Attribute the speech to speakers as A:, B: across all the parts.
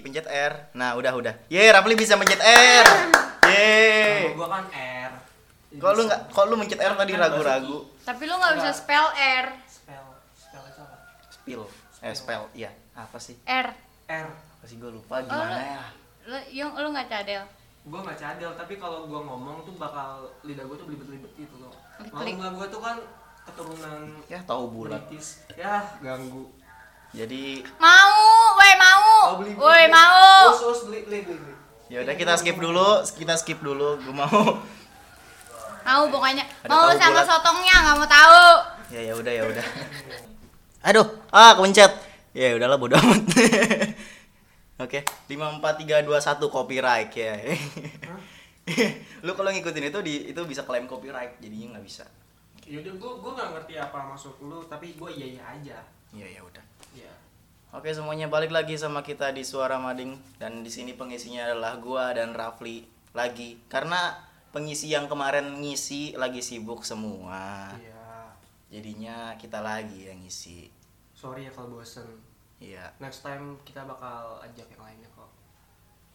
A: Pencet R. Nah, udah udah. Ye, Rafli bisa mencet R. Ye.
B: Kalau gua kan R.
A: Kok lu nggak kok lu mencet R tadi ragu-ragu?
C: Tapi lu nggak bisa
B: Enggak.
C: spell R.
B: Spell, spell itu apa?
A: Spill. Eh, spell. Iya. Apa sih?
C: R.
B: R.
A: Apa sih gua lupa gimana
C: lu-
A: ya?
C: Lu yang lu nggak cadel.
B: Gua nggak cadel, tapi kalau gua ngomong tuh bakal lidah gua tuh belibet-belibet gitu loh. Mau
C: Klik.
B: nggak gua tuh kan keturunan
A: Ya, tahu bulat.
B: British. Yah, ganggu.
A: Jadi,
C: Mau, woi mau.
B: Oh, beli- beli.
C: Woi mau.
B: Us, us, beli, beli, beli. beli.
A: ya udah kita skip dulu, kita skip dulu. Gua mau.
C: Mau pokoknya.
A: Ada
C: Mau
A: tahu
C: sama
A: bulat.
C: sotongnya nggak mau tahu.
A: Ya ya udah ya udah. Aduh, ah kepencet. Ya udahlah bodo amat. Oke, 54321 copyright ya. Lu kalau ngikutin itu di itu bisa klaim copyright, jadinya nggak bisa.
B: Yaudah, gua gua nggak ngerti apa masuk lu, tapi gua iya iya aja.
A: Ya ya udah.
B: Iya.
A: Oke semuanya balik lagi sama kita di Suara Mading dan di sini pengisinya adalah gua dan Rafli lagi karena pengisi yang kemarin ngisi lagi sibuk semua.
B: Iya.
A: Jadinya kita lagi yang ngisi.
B: Sorry ya kalau bosen.
A: Iya,
B: Next time kita bakal ajak yang lainnya kok.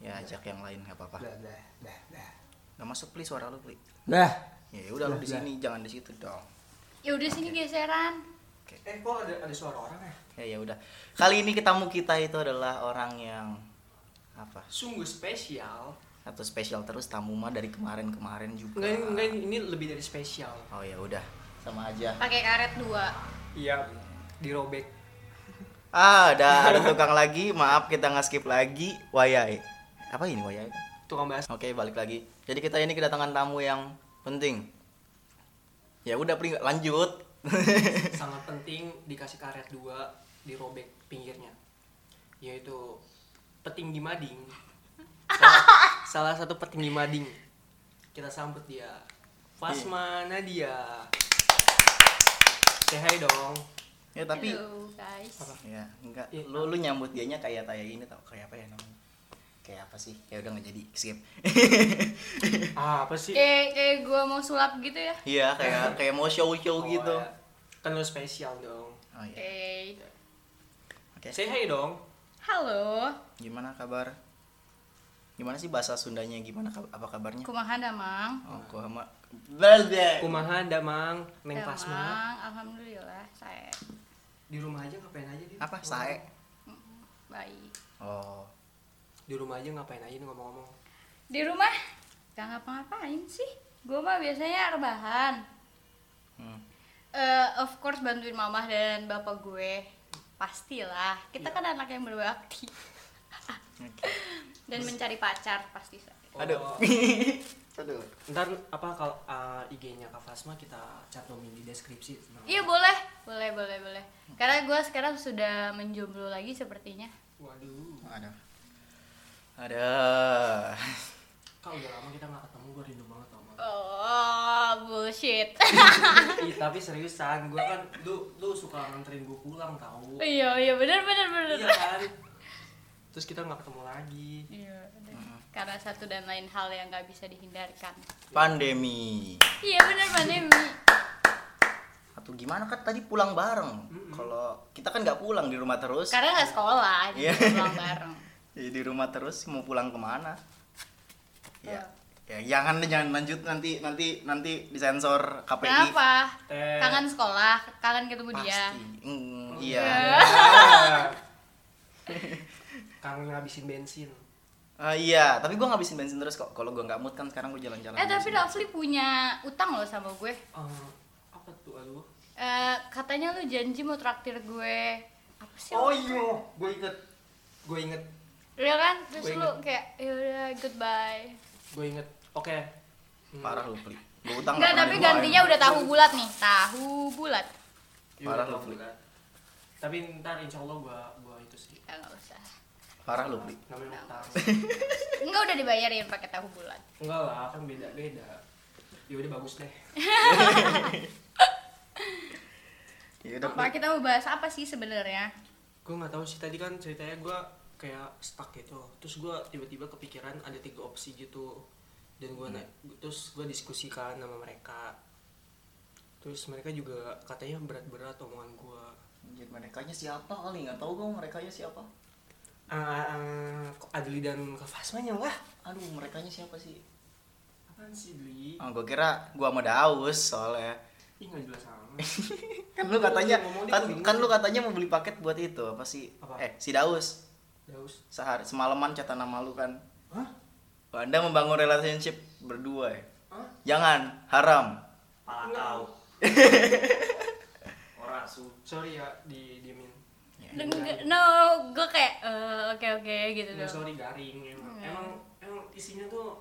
A: ya ajak yang lain nggak apa-apa.
B: Dah, dah, dah, dah.
A: Nggak masuk pli suara lu pli.
B: Dah.
A: Ya udah lu di
B: Udah.
A: sini jangan di situ dong.
C: Ya udah sini geseran.
B: Eh, kok ada ada suara orang ya?
A: Ya ya udah. Kali ini ketamu kita itu adalah orang yang apa?
B: Sungguh spesial.
A: Atau spesial terus tamu mah dari kemarin-kemarin juga.
B: Enggak, ini- enggak ini, ini lebih dari spesial.
A: Oh ya udah, sama aja.
C: Pakai karet dua.
B: Iya, dirobek.
A: Ah, ada ada tukang lagi. Maaf kita nggak skip lagi. Wayai. Apa ini wayai?
B: Tukang bahas.
A: Oke, balik lagi. Jadi kita ini kedatangan tamu yang penting. Ya udah, Pri, lanjut.
B: Sangat penting dikasih karet dua, dirobek pinggirnya. Yaitu petinggi mading. Salah, salah satu petinggi mading. Kita sambut dia. Fasma Nadia. Say hi dong.
A: ya tapi
C: Hello, guys.
A: ya enggak lu lu nyambut dianya kayak kayak ini tau kayak apa ya namanya kayak apa sih ya udah nggak jadi skip
B: Ah, apa sih?
C: Kayak kayak gua mau sulap gitu ya.
A: iya kayak kayak mau show show
B: Oh,
A: gitu
B: ya. Kan lu spesial dong.
A: oh iya
C: Oke.
A: oke
B: Say hi dong.
C: Halo.
A: gimana kabar gimana sih bahasa Sundanya gimana kab- apa kabarnya
C: Kumaha damang?
A: oh gua sama Bleh.
B: Kumaha damang Neng Fasma.
C: Damang, alhamdulillah saya
B: Di rumah aja ngapain aja dia?
A: apa sae
C: baik.
A: oh
B: Di rumah aja ngapain aja nih ngomong-ngomong.
C: Di rumah gak ngapa-ngapain sih. Gua mah biasanya rebahan.
A: hmm.
C: Eh, of course bantuin mama dan bapak gue. Pastilah. Kita kan anak yang berbakti
A: Oke.
C: dan mencari pacar pasti saya.
A: aduh
B: Oh,
A: aduh
B: ntar apa kalau uh, IG-nya Kak Fasma kita cantumin di deskripsi. Nah. Tenang.
C: Iya boleh, boleh, boleh, boleh. Karena gue sekarang sudah menjomblo lagi sepertinya.
B: Waduh.
A: aduh aduh
B: Kak udah lama kita nggak ketemu gue rindu banget sama. lu.
C: Oh bullshit. Ah.
B: Ih, tapi seriusan gue kan lu lu suka nganterin gue pulang tahu.
C: iya iya benar benar benar.
B: Iya kan. Terus kita nggak ketemu lagi.
C: Iya. bener. Karena satu dan lain hal yang gak bisa dihindarkan.
A: pandemi
C: Iya benar pandemi.
A: atau gimana kan tadi pulang bareng kalau kita kan nggak pulang di rumah terus
C: Karena nggak sekolah, jadi
A: Iya.
C: pulang bareng.
A: Jadi di rumah terus mau pulang kemana ya
C: Tuh.
A: ya jangan deh, jangan lanjut nanti nanti nanti disensor KPI
C: Kenapa?
B: Tes.
C: Kangen sekolah, kangen ketemu
A: pasti
C: dia. Oh,
A: Mm, iya
C: Iya.
B: Kangen ngabisin bensin.
A: Ah, iya tapi gua ngabisin bensin terus kok kalau gua nggak mood kan sekarang gua jalan-jalan
C: Eh tapi
A: bensin.
C: Rafli punya utang loh sama gue.
B: Eh, apa tuh aduh?
C: Eh, katanya lu janji mau traktir gue. Apa sih?
B: Oh iya, gue inget, gue inget,
C: Iya kan?
B: Gue
C: Terus lu kayak yaudah goodbye.
B: gue inget. Oke. Hmm.
A: parah lu Pli gua utang
C: Enggak,
A: nggak
C: tapi
A: pernah
C: gantinya
A: dilupain.
C: udah tahu bulat nih. Tahu bulat.
B: Iya,
A: Parah
B: udah
A: lu, Fli.
B: tahu. Tapi ntar insya Allah gue gue itu sih.
C: Ya enggak usah.
A: parah lu Pli
B: Namanya utang.
C: Enggak udah dibayarin pakai tahu bulat.
B: Enggak lah, kan beda beda. Ya udah bagus deh.
A: ya udah Pli
C: Apa kita mau bahas apa sih sebenarnya?
B: Gue nggak tahu sih tadi kan ceritanya gue kayak stuck gitu. Terus gue tiba-tiba kepikiran ada tiga opsi gitu. Dan
A: Hmm.
B: gue terus gue diskusikan sama mereka. Terus mereka juga katanya berat-berat omongan gue.
A: mereka siapa kali nggak tahu gua mereka siapa
B: ah, ah, Adli dan Kak Fasmanya lah
A: Aduh, merekanya siapa sih?
B: apaan sih Dli
A: Oh, gue kira gua sama Daus soalnya.
B: ih nggak jelas sama
A: Kan lu katanya
B: Ngomong dia
A: kan,
B: bingung.
A: kan lu katanya mau beli paket buat itu apa sih?
B: Apa?
A: Eh, si Daus
B: Daus
A: sehari semalaman catatan nama lu kan.
B: hah
A: Anda membangun relationship berdua ya.
B: hah
A: Jangan haram.
D: Pala
B: Enggak.
D: kau. Orang su.
B: sorry ya di diemin
A: Ya,
C: Dan nggak- no gue kayak eh, oke oke gitu
B: Nggak,
C: dong
B: sorry garing emang
C: Hmm.
B: emang emang isinya tuh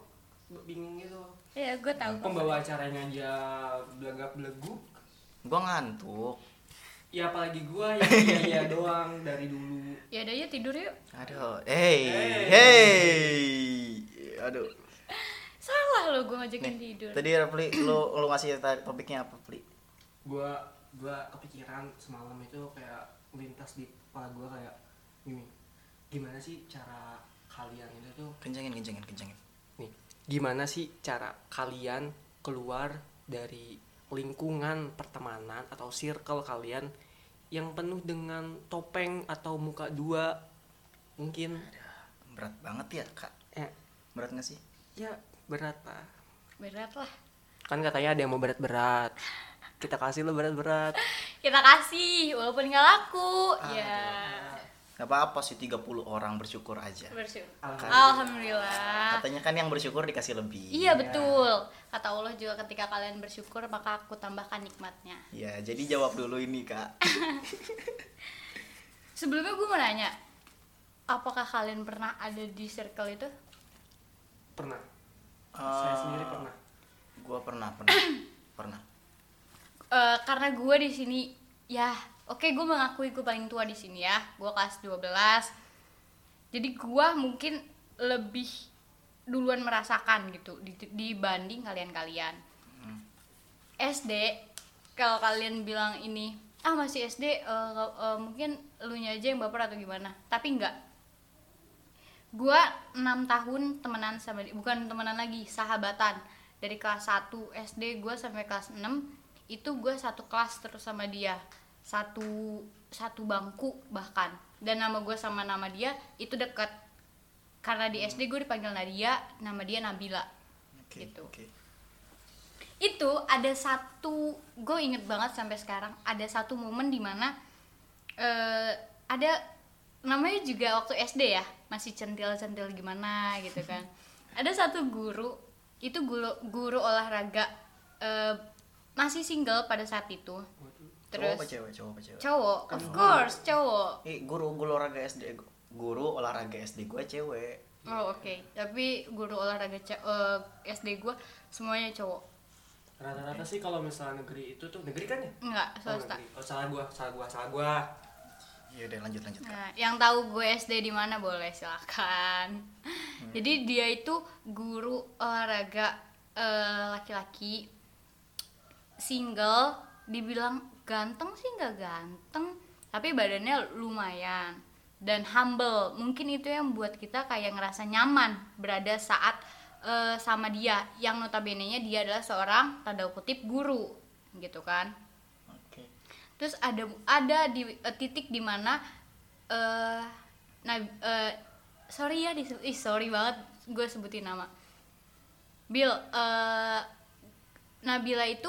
B: bingung gitu
C: ya gue tahu kok.
B: pembawa acaranya aja belagak beleguk
A: Gua ngantuk.
B: ya apalagi gua yang iya iya doang dari dulu
C: ya udah yuk tidur yuk
A: Aduh, hey,
B: Hey.
A: hey. Aduh.
C: salah lo gue ngajakin
A: Nih,
C: tidur
A: tadi Rafli lu lu ngasih ta- topiknya apa, Pli?
B: gua gua kepikiran semalam itu kayak lintas di kepala gua kayak gini gimana sih cara kalian itu tuh
A: Kencengin, kencengin, kencengin.
B: nih gimana sih cara kalian keluar dari lingkungan pertemanan atau circle kalian yang penuh dengan topeng atau muka dua mungkin
A: Berat banget ya, Kak.
B: eh,
A: Berat gak sih?
B: ya berat lah
C: berat lah
B: kan katanya ada yang mau berat-berat kita kasih lo berat-berat
C: kita kasih walaupun nggak laku ya
A: Gak apa-apa sih 30 orang bersyukur aja.
C: bersyukur
B: Alhamdulillah.
C: alhamdulillah
A: Katanya kan yang bersyukur dikasih lebih.
C: iya betul kata Allah juga ketika kalian bersyukur maka aku tambahkan nikmatnya
A: Ya, jadi jawab dulu ini, Kak.
C: sebelumnya gue mau nanya apakah kalian pernah ada di circle itu
B: pernah saya sendiri pernah
A: Gua pernah, pernah. pernah.
C: Eh, karena gue di sini ya oke gue mengakui gue paling tua di sini ya gue kelas 12 jadi gue mungkin lebih duluan merasakan gitu di- dibanding kalian-kalian SD kalau kalian bilang ini ah masih SD eh, eh, mungkin elunya aja yang baper atau gimana tapi enggak gue 6 tahun temenan sama di- bukan temenan lagi sahabatan dari kelas 1 SD gue sampai kelas 6 itu gue satu kelas terus sama dia satu satu bangku bahkan dan nama gue sama nama dia itu dekat karena di SD gue dipanggil Nadia nama dia Nabila
A: Oke.
C: Gitu.
A: Oke.
C: itu ada satu gue inget banget sampai sekarang ada satu momen dimana eh ada namanya juga waktu SD ya masih centil-centil gimana gitu kan ada satu guru itu guru guru olahraga eh, masih single pada saat itu
B: Waduh.
A: Cowok
C: terus
A: apa cewek? Kan Cowok apa cewek?
C: cowok of course cowok
A: Eh, guru guru olahraga SD guru olahraga SD gua cewek.
C: oh oke tapi guru olahraga ce- eh, SD gue semuanya cowok
B: rata-rata sih kalau misalnya negeri itu tuh negeri kan ya
C: enggak
B: Oh,
C: swasta
B: negeri. oh salah gua salah gua salah gua
A: Ya udah lanjut lanjut. Kak.
C: Nah, yang tahu gue SD di mana boleh silakan. Jadi dia itu guru olahraga eh, laki-laki single, dibilang ganteng sih nggak ganteng, tapi badannya lumayan dan humble. Mungkin itu yang buat kita kayak ngerasa nyaman berada saat eh, sama dia. Yang notabene-nya dia adalah seorang tanda kutip guru, gitu kan
A: Oke.
C: terus ada ada di eh, titik di mana eh nah eh, sorry ya disebut ih sorry banget gue sebutin nama Bill eh Nabila itu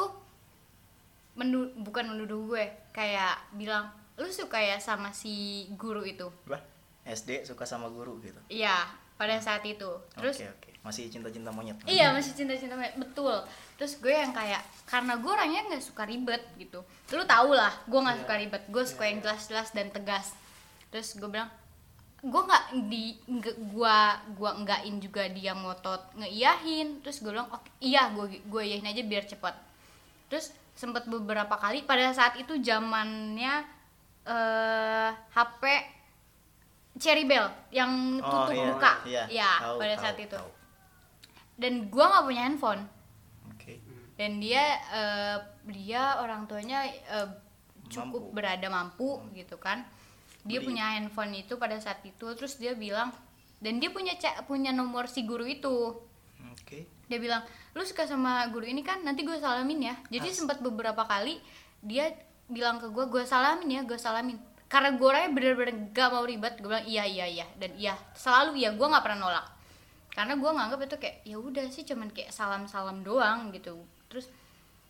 C: mendu- bukan menduduh gue kayak bilang lu suka ya sama si guru itu
A: Lah, SD suka sama guru gitu.
C: iya pada saat itu terus
A: Oke, oke. Masih cinta-cinta monyet.
C: Iya masih cinta-cinta banget. betul. Terus gue yang kayak karena gue orangnya nggak suka ribet gitu. Lu tau lah, gue
B: Iya.
C: nggak suka ribet. Gue suka
B: Iya,
C: yang
B: iya.
C: jelas-jelas dan tegas. Terus gue bilang gue nggak di nggak- gua gua enggakin juga dia ngotot ngeiyahin terus gue bilang "Oke, iya gue gue iyahin aja biar cepet terus sempet beberapa kali pada saat itu zamannya eh HP Cherry Bell yang
A: Oh,
C: tutup
A: iya.
C: muka
A: Iya.
C: ya
A: Tahu,
C: pada
A: tahu,
C: saat itu
A: tahu.
C: dan gua nggak punya handphone
A: Oke.
C: dan dia eh, dia orang tuanya eh,
A: Mampu.
C: cukup
A: Hmm.
C: berada mampu gitu kan dia
A: Beli.
C: punya handphone itu pada saat itu terus dia bilang dan dia punya ca- punya nomor si guru itu
A: Oke.
C: dia bilang lu suka sama guru ini kan nanti gue salamin ya jadi sempat beberapa kali dia bilang ke gue gue salamin ya gue salamin karena gue orangnya bener-bener gak mau ribet gue bilang iya iya iya dan iya selalu iya gue nggak pernah nolak karena gue nganggap itu kayak ya udah sih cuman kayak salam-salam doang gitu terus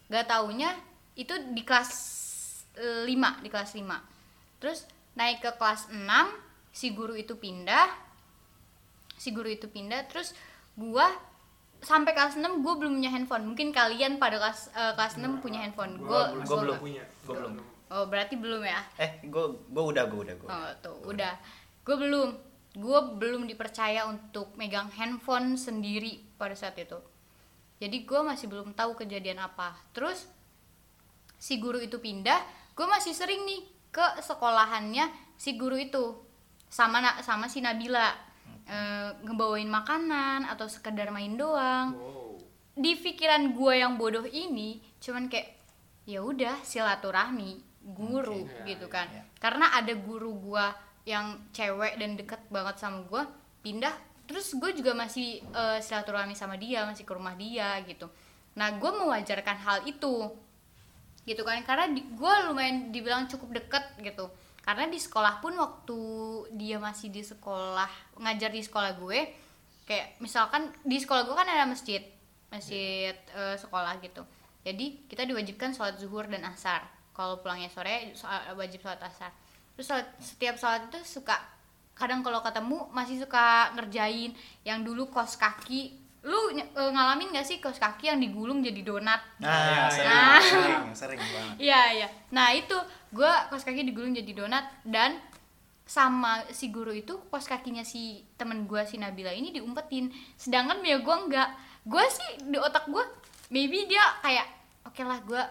C: gak taunya itu di kelas 5 di kelas 5 terus naik ke kelas 6 si guru itu pindah si guru itu pindah terus gua sampai kelas 6 gue belum punya handphone mungkin kalian pada kelas eh, kelas 6 punya handphone gue
A: Gua- gua belum.
B: punya
A: Gua belum.
C: oh berarti belum ya
A: eh gue gue udah gue udah gue
C: Oh, tuh, udah. Gue belum. Gue belum dipercaya untuk megang handphone sendiri pada saat itu. Jadi gue masih belum tahu kejadian apa. Terus si guru itu pindah, gue masih sering nih ke sekolahannya si guru itu sama na- sama si Nabila Eh, ngebawain makanan atau sekedar main doang
A: Hmm.
B: wow
C: di pikiran gue yang bodoh ini cuman kayak ya udah silaturahmi guru
B: Oke.
C: gitu kan
A: Ya, ya.
C: karena ada guru gue yang cewek dan deket banget sama gue pindah terus gue juga masih eh, silaturahmi sama dia masih ke rumah dia gitu nah gue mewajarkan hal itu gitu kan karena gue lumayan dibilang cukup deket gitu karena di sekolah pun waktu dia masih di sekolah ngajar di sekolah gue kayak misalkan di sekolah gue kan ada masjid masjid eh, sekolah gitu jadi kita diwajibkan sholat zuhur dan asar kalau pulangnya sore so- eh, wajib sholat asar terus sholat- setiap sholat itu suka kadang kalau ketemu masih suka ngerjain yang dulu kos kaki lu ny- eh, ngalamin gak sih kos kaki yang digulung jadi donat
A: nah
B: Nah,
A: sering
C: nah.
A: sering sering banget
C: Iya iya. Nah itu gue kos kaki digulung jadi donat dan sama si guru itu kos kakinya si temen gue si Nabila ini diumpetin. Sedangkan Mia gue enggak. Gue sih di otak gue maybe dia kayak oke lah gue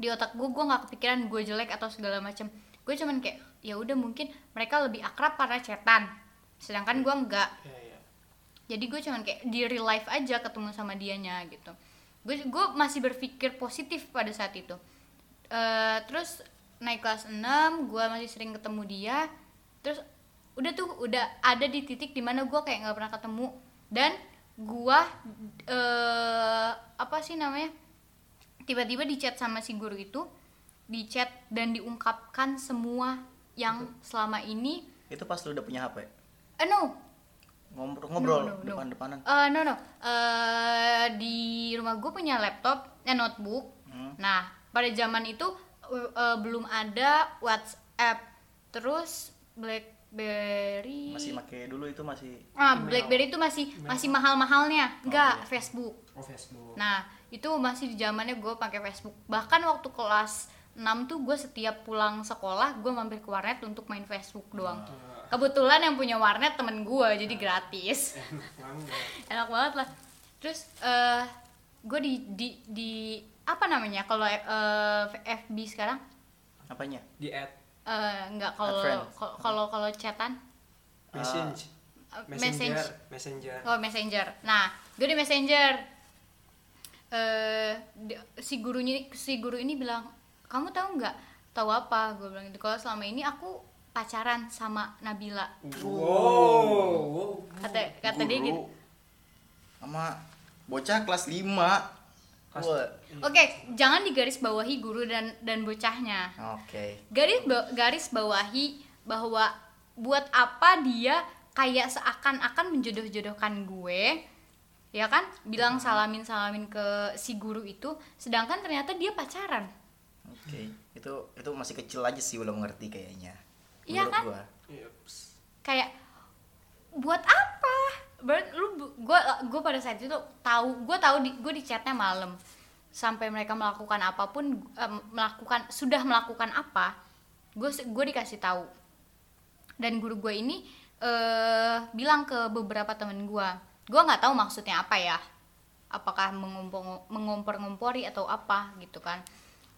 C: di otak gue gue nggak kepikiran gue jelek atau segala macem gue cuman kayak ya udah mungkin mereka lebih akrab karena cetan sedangkan gue enggak
B: ya ya
C: jadi gue cuman kayak di real life aja ketemu sama dianya gitu gue gue masih berpikir positif pada saat itu Eh, terus naik kelas 6 gue masih sering ketemu dia terus udah tuh udah ada di titik dimana gue kayak nggak pernah ketemu dan gue eh apa sih namanya tiba-tiba di chat sama si guru itu di chat dan diungkapkan semua yang selama ini
A: itu pas lu udah punya hp
C: eh no
A: ngobrol ngobrol
C: No, no, no.
A: depan depanan
C: Eh, no no. Eh, di rumah gue punya laptop, eh notebook.
A: Hmm.
C: Nah pada zaman itu eh, eh, belum ada WhatsApp, terus BlackBerry.
A: masih pakai dulu itu masih
C: ah
B: email.
C: BlackBerry itu masih
B: Email.
C: masih mahal-mahalnya, enggak
A: iya.
C: Facebook.
B: oh Facebook
C: Nah, itu masih di zamannya gue pakai Facebook. Bahkan waktu kelas 6 tuh gue setiap pulang sekolah gue mampir ke warnet untuk main Facebook doang.
A: Ah.
C: Kebetulan yang punya warnet temen gue, jadi gratis.
B: enak banget
C: Enak banget lah. Terus eh gue di, di di apa namanya kalau eh, FB sekarang?
A: apanya
B: di add
C: Eh enggak kalau
A: Friends.
C: kalau- kalau kalau chatan
B: message
C: eh,
B: uh, messenger messenger
C: Oh messenger. Nah, gue di messenger. Eh di- si gurunya si guru ini bilang, kamu tahu nggak? Tahu apa? Gue bilang gitu. Kalau selama ini aku pacaran sama Nabila.
B: wow
C: Kata kata dia
A: Guru
C: gitu.
A: sama bocah kelas 5
B: Kelas-
A: Wah.
C: Oke, jangan digaris bawahi guru dan dan bocahnya.
A: oke
C: garis ba- garis bawahi bahwa buat apa dia kayak seakan-akan menjodoh-jodohkan gue ya kan bilang salamin salamin ke si guru itu sedangkan ternyata dia pacaran
A: oke itu itu masih kecil aja sih belum ngerti kayaknya
C: Iya
A: Menurut
C: kan?
A: gua.
B: Yups.
C: kayak buat apa Ber- lu bu- gua gue pada saat itu tahu gue tahu di gue di chatnya malam sampai mereka melakukan apapun em, melakukan sudah melakukan apa gue gue dikasih tahu dan guru gue ini eh bilang ke beberapa temen gue gue nggak tahu maksudnya apa ya apakah mengompor mengompor-ngompori atau apa gitu kan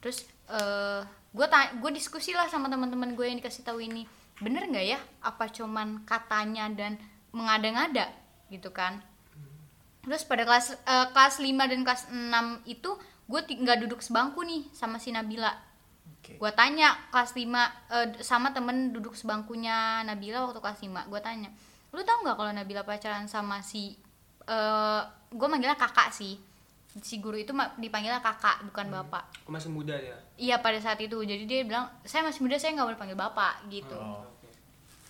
C: terus eh gue gue diskusi lah sama teman-teman gue yang dikasih tahu ini bener nggak ya apa cuman katanya dan mengada-ngada gitu kan terus pada kelas eh, kelas 5 dan kelas 6 itu gue nggak duduk sebangku nih sama si Nabila
A: oke
C: Gua tanya kelas 5 sama temen duduk sebangkunya Nabila waktu kelas 5 Gua tanya lu tau nggak kalau Nabila pacaran sama si eh, gua manggilnya kakak sih si guru itu ma- dipanggilnya kakak bukan
A: Hmm.
C: bapak
B: Aku masih muda ya.
C: iya pada saat itu jadi dia bilang saya masih muda saya nggak boleh panggil bapak gitu
A: Oh.
B: Oke.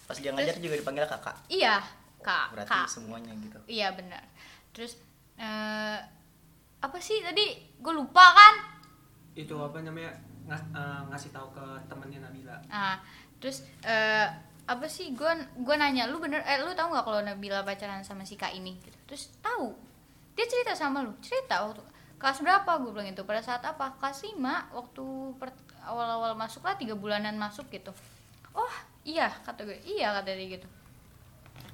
A: Pas dia ngajar juga dipanggil kakak.
C: iya kak
A: Berarti
C: kak
A: semuanya gitu.
C: iya benar terus eh, apa sih tadi gue lupa kan
B: Itu apa namanya? Ngas, eh, ngasih tahu ke temennya Nabila.
C: nah terus eh, apa sih gue gue nanya lu bener eh lu tahu nggak kalau Nabila pacaran sama si kak ini gitu. terus tahu dia cerita sama lu cerita waktu kelas berapa gue bilang itu pada saat apa kelas 5 waktu per- awal-awal masuk lah tiga bulanan masuk gitu oh iya kata gue iya kata dia gitu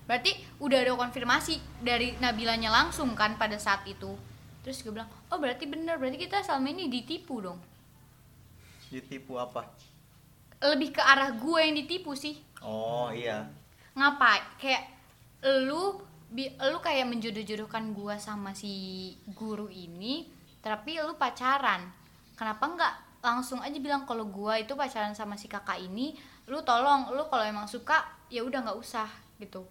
C: berarti udah ada konfirmasi dari Nabilanya langsung kan pada saat itu terus gue bilang oh berarti bener berarti kita selama ini ditipu dong
A: Ditipu apa?
C: lebih ke arah gue yang ditipu sih
A: Oh iya.
C: ngapain kayak lu bi, lu kayak menjodoh-jodohkan gua sama si guru ini tapi lu pacaran kenapa nggak langsung aja bilang kalau gua itu pacaran sama si kakak ini lu tolong lu kalau emang suka ya udah nggak usah gitu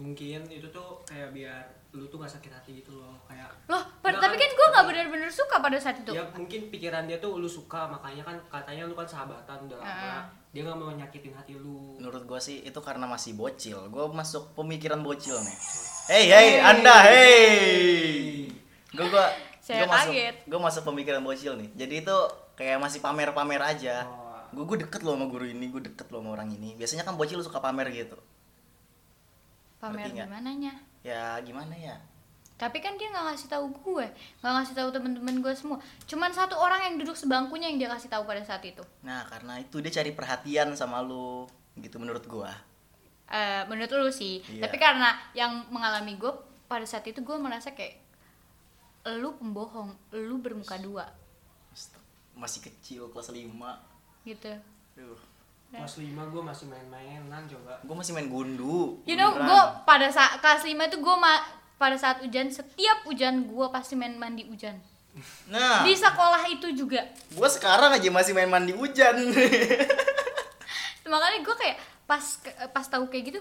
B: Mungkin itu tuh kayak biar lu tuh gak sakit hati gitu loh, kayak
C: loh pa-
B: Nggak
C: tapi
B: kan?
C: kan gua nggak benar-benar suka pada saat itu
A: Iya,
B: Ya mungkin pikiran dia tuh lu suka makanya kan katanya lu kan sahabatan udah lama.
C: Ah.
B: Dia nggak mau nyakitin hati lu.
A: Menurut gua sih itu karena masih bocil. Gua masuk pemikiran bocil nih. Hey hey Anda hey. Gua gua
C: Saya
A: gua masuk
C: kaget.
A: gua masuk pemikiran bocil nih. Jadi itu kayak masih pamer-pamer aja.
B: Oh.
A: Gue gue deket loh sama guru ini, gue deket loh sama orang ini. Biasanya kan bocil suka pamer gitu.
C: pamer
A: ngerti nggak?
C: gimana nya
A: Ya gimana ya?
C: tapi kan dia nggak ngasih tahu gue nggak ngasih tahu temen-temen gue semua cuman satu orang yang duduk sebangkunya yang dia kasih tahu pada saat itu
A: Nah karena itu dia cari perhatian sama lu gitu menurut gua.
C: Eh, menurut lu sih
A: Iya.
C: tapi karena yang mengalami gue pada saat itu gue merasa kayak lu pembohong lu bermuka dua
A: Astaga, Masih kecil kelas 5
C: gitu
A: Aduh,
B: Kelas 5 gue masih main-mainan coba.
A: gue masih main gundu.
C: you know
A: beneran.
C: gue pada saat kelas 5 itu gue pada saat hujan setiap hujan gue pasti main mandi hujan
A: Nah,
C: di sekolah itu juga
A: gue sekarang aja masih main mandi hujan.
C: makanya gue kayak pas pas tahu kayak gitu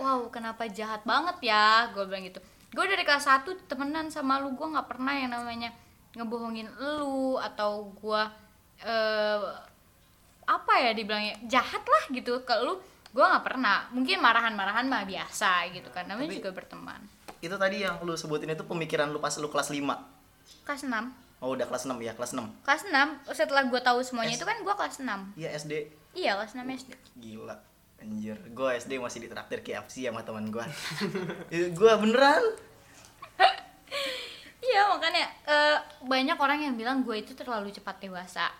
C: wow kenapa jahat banget ya gue bilang gitu gue dari kelas 1 temenan sama lu gue nggak pernah yang namanya ngebohongin lu atau gue eh, apa ya dibilangnya jahat lah gitu ke lu gue nggak pernah mungkin marahan-marahan mah biasa gitu kan namanya
A: Tapi-
C: juga berteman
A: itu tadi yang lu sebutin itu pemikiran lu pas lu kelas 5.
C: kelas 6
A: Oh, udah kelas 6 ya, kelas 6.
C: kelas 6 setelah gue tahu semuanya itu kan gue kelas 6
A: Iya, SD.
C: iya kelas 6 SD
A: Gila. Anjir, gue SD masih ditraktir KFC sama teman gue. gue beneran.
C: Iya makanya eh, banyak orang yang bilang gue itu terlalu cepat dewasa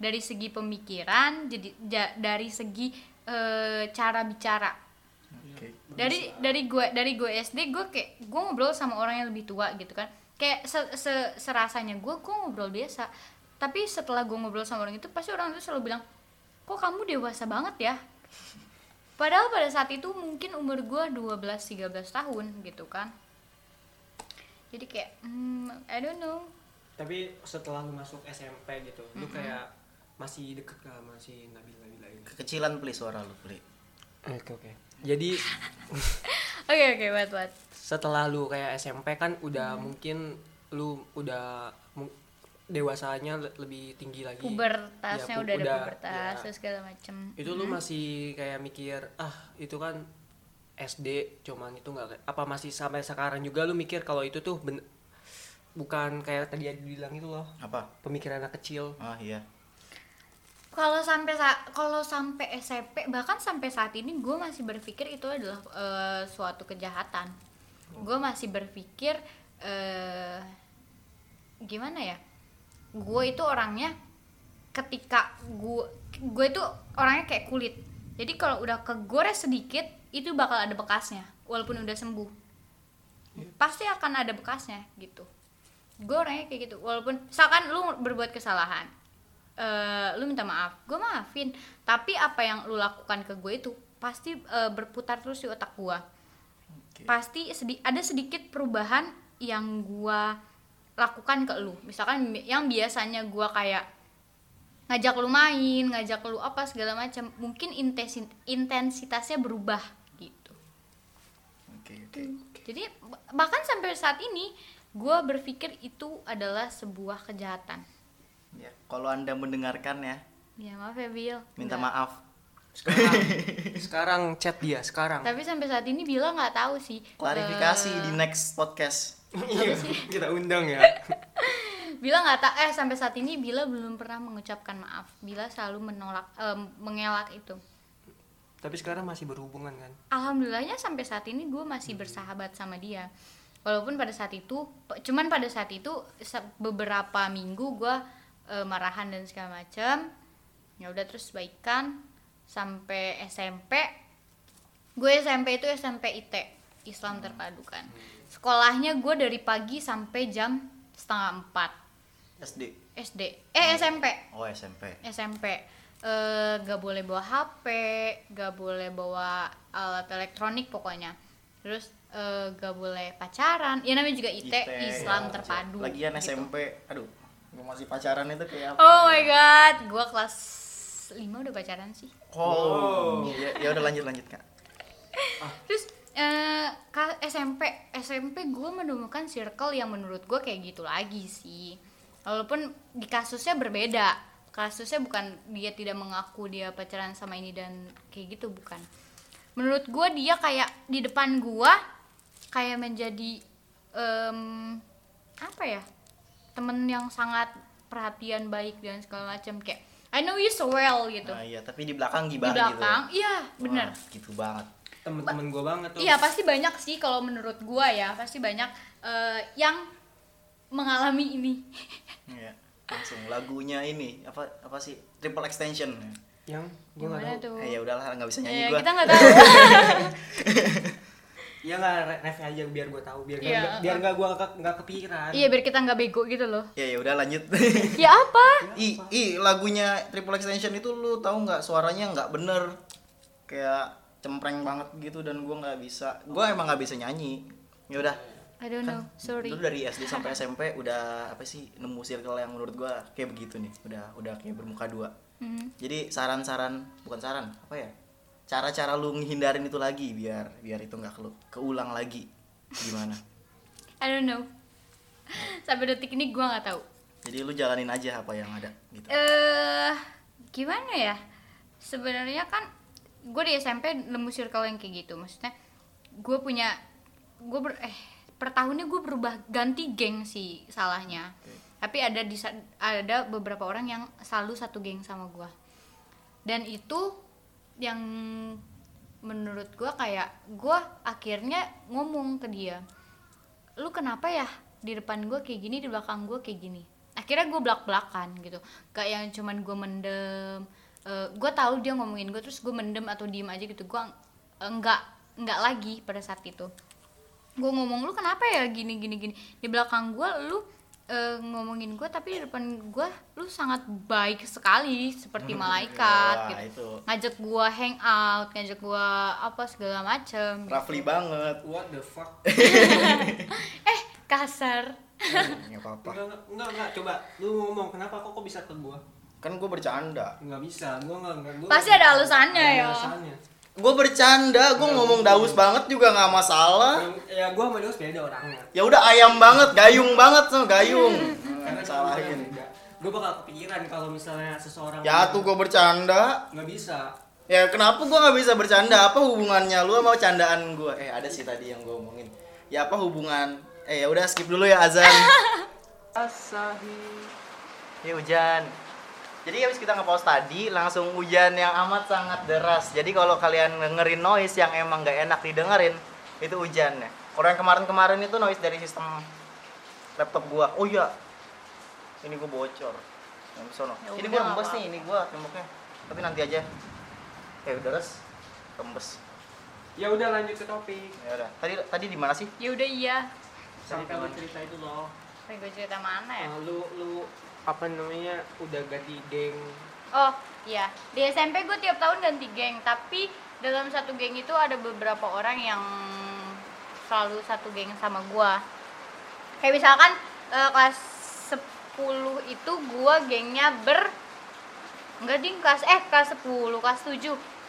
C: dari segi pemikiran jadi ja- dari segi eh, cara bicara
A: Oke.
C: dari dari gue dari gue SD gue kayak gue ngobrol sama orang yang lebih tua gitu kan kayak se- se- serasanya gue gue ngobrol biasa tapi setelah gue ngobrol sama orang itu pasti orang itu selalu bilang kok kamu dewasa banget ya padahal pada saat itu mungkin umur gue 12-13 tahun gitu kan jadi kayak hmm, I don't know
B: Tapi setelah lu masuk SMP gitu, lu kayak masih deket gak sama si Nabila Nabila ini?
A: Kekecilan please suara lu, please.
B: Oke oke. Jadi
C: oke oke buat buat
B: setelah lu kayak SMP kan udah mungkin lu udah mu- dewasanya le- lebih tinggi lagi.
C: pubertasnya
B: Ya, pu-
C: Iya, udah iya. ada pubertas
B: ya.
C: terus segala macem
B: itu lu masih kayak mikir ah itu kan SD cuman itu nggak kayak- apa masih sampai sekarang juga lu mikir kalau itu tuh ben- bukan kayak tadi yang dibilang itu loh
A: Apa?
B: pemikiran anak kecil
A: Ah, iya.
C: kalau sampai sa- kalau sampai SMP bahkan sampai saat ini gue masih berpikir itu adalah eh, suatu kejahatan gue masih berpikir eh, gimana ya gue itu orangnya ketika gue gue itu orangnya kayak kulit jadi kalau udah kegores sedikit itu bakal ada bekasnya walaupun udah sembuh pasti akan ada bekasnya gitu gue orangnya kayak gitu walaupun misalkan lu berbuat kesalahan eh lu minta maaf gue maafin tapi apa yang lu lakukan ke gue itu pasti eh, berputar terus di otak gue
A: Oke.
C: pasti sedi- ada sedikit perubahan yang gue lakukan ke lu misalkan bi- yang biasanya gue kayak ngajak lu main ngajak lu apa segala macam mungkin intesi- intensitasnya berubah gitu
A: Oke, oke.
C: jadi bah- bahkan sampai saat ini gue berpikir itu adalah sebuah kejahatan
A: Ya, kalau Anda mendengarkan ya,
C: ya maaf ya Bill
A: minta
C: Nggak.
A: maaf.
B: sekarang sekarang chat dia sekarang
C: tapi sampai saat ini Bila nggak tahu sih eh,
A: Klarifikasi di next podcast.
B: Iya, kita undang ya
C: Bila nggak tak eh sampai saat ini Bila belum pernah mengucapkan maaf. Bila selalu menolak eh, mengelak itu.
B: tapi sekarang masih berhubungan kan
C: Alhamdulillahnya sampai saat ini gue masih bersahabat sama dia. Walaupun pada saat itu pe- cuman pada saat itu se- beberapa minggu gue eh, marahan dan segala macam. Ya udah terus baikan sampai SMP. Gue SMP itu SMP IT, Islam terpadukan. Sekolahnya gue dari pagi sampai jam setengah empat
A: SD.
C: SD eh SMP
A: Oh, SMP.
C: SMP eh gak boleh bawa HP, gak boleh bawa alat elektronik pokoknya. Terus eh gak boleh pacaran. Ya namanya juga IT,
A: ya.
C: Islam terpadu.
A: Lagian
C: gitu.
A: SMP, aduh, gua masih pacaran itu kayak apa? ya?
C: Oh my god, gua kelas 5 udah pacaran sih.
A: Oh, ya, ya udah lanjut lanjut kak.
C: Terus eh ka- SMP SMP gue menemukan circle yang menurut gue kayak gitu lagi sih. Walaupun di kasusnya berbeda. Kasusnya bukan dia tidak mengaku dia pacaran sama ini dan kayak gitu bukan. Menurut gue dia kayak di depan gue kayak menjadi em, apa ya temen yang sangat perhatian baik dan segala macam kayak I know you so well gitu.
A: Nah, iya, tapi di belakang
C: di
A: gimana gitu?
C: belakang, iya
A: Wah,
C: bener
A: gitu banget.
B: temen-temen gue banget tuh
C: Iya pasti banyak sih kalau menurut gua ya pasti banyak eh, yang mengalami ini.
A: Iya. Langsung lagunya ini apa apa sih? Triple extension.
B: yang gue nggak
C: Gimana
B: tahu
C: tuh?
A: Eh, ya udahlah nggak bisa
C: Eh,
A: nyanyi gua.
C: kita nggak tahu.
B: ya nggak re- ref aja biar gue tahu biar
C: Iya,
B: nggak biar nggak gue nggak kepikiran
C: iya biar kita nggak bego gitu loh.
A: Ya ya udah lanjut.
C: Ya apa?
A: I, i lagunya Triple Extension itu lu tahu nggak suaranya nggak bener kayak cempreng banget gitu dan gua nggak bisa gua emang nggak bisa nyanyi ya udah
C: I don't know. Sorry.
A: Lu dari SD sampai SMP udah apa sih nemu circle yang menurut gua kayak begitu nih udah udah kayak bermuka dua
C: Mhm.
A: jadi saran-saran bukan saran apa ya cara-cara lu menghindarin itu lagi biar biar itu nggak kelu- keulang lagi gimana
C: I don't know. Sampai detik ini gua nggak tahu.
A: jadi lu jalanin aja apa yang ada gitu
C: Eh gimana ya? Sebenarnya kan gue di SMP nemu circle yang kayak gitu. Maksudnya gue punya gue ber eh per tahunnya gue berubah ganti geng sih salahnya. Tapi ada di sa- ada beberapa orang yang selalu satu geng sama gue. Dan itu yang menurut gue kayak gue akhirnya ngomong ke dia lu kenapa ya di depan gue kayak gini di belakang gue kayak gini akhirnya gue belak belakan gitu gak yang cuman gue mendem gue tahu dia ngomongin gue terus gue mendem atau diem aja gitu gue enggak enggak lagi pada saat itu gue ngomong lu kenapa ya gini gini gini di belakang gue lu eh, ngomongin gue tapi di depan gue lu sangat baik sekali seperti malaikat
A: Hmm. Wah,
C: gitu
A: itu.
C: ngajak gue hang out ngajak gue apa segala macem gitu.
A: Rafli banget
B: what the fuck
C: eh kasar
A: Hmm, nggak apa-apa
B: enggak enggak, enggak enggak coba lu ngomong kenapa kok kok bisa ke gue
A: kan gue bercanda
B: nggak bisa gue nggak nggak gua-
C: Pasti ada alasannya,
B: Ada
C: ya.
B: alasannya.
A: gue bercanda gue ngomong daus banget juga nggak masalah
B: Yang- ya gue sama Deus beda orangnya
A: ya udah ayam banget gayung banget sama gayung
B: karena
A: salahin
B: gue bakal kepikiran kalau misalnya seseorang
A: ya tuh gue bercanda
B: nggak bisa
A: ya kenapa gue nggak bisa bercanda apa hubungannya lu sama candaan gue eh ada sih tadi yang gue omongin ya apa hubungan eh ya udah skip dulu ya azan
B: Asahi.
A: ya hujan jadi habis kita nge-pause tadi langsung hujan yang amat sangat deras jadi kalau kalian dengerin noise yang emang nggak enak didengerin itu hujannya kalau yang kemarin-kemarin itu noise dari sistem laptop gua oh iya ini gua bocor yang di sono
C: Ya
A: ini
C: udah,
A: gua rembes
C: nggak
A: nih ini gua temboknya tapi nanti aja eh udah res rembes
B: ya udah lanjut ke topik
A: ya udah tadi tadi di mana sih
C: ya udah iya
B: sampai
A: Tadi di
B: lu
A: mana?
B: cerita itu loh
C: Tapi gue cerita mana ya?
B: Nah, lu lu apa namanya udah ganti geng
C: Oh iya, di SMP gue tiap tahun ganti geng, tapi dalam satu geng itu ada beberapa orang yang selalu satu geng sama gue. Kayak misalkan eh, kelas 10 itu gue gengnya ber Enggak ding, kelas eh kelas 10, kelas 7.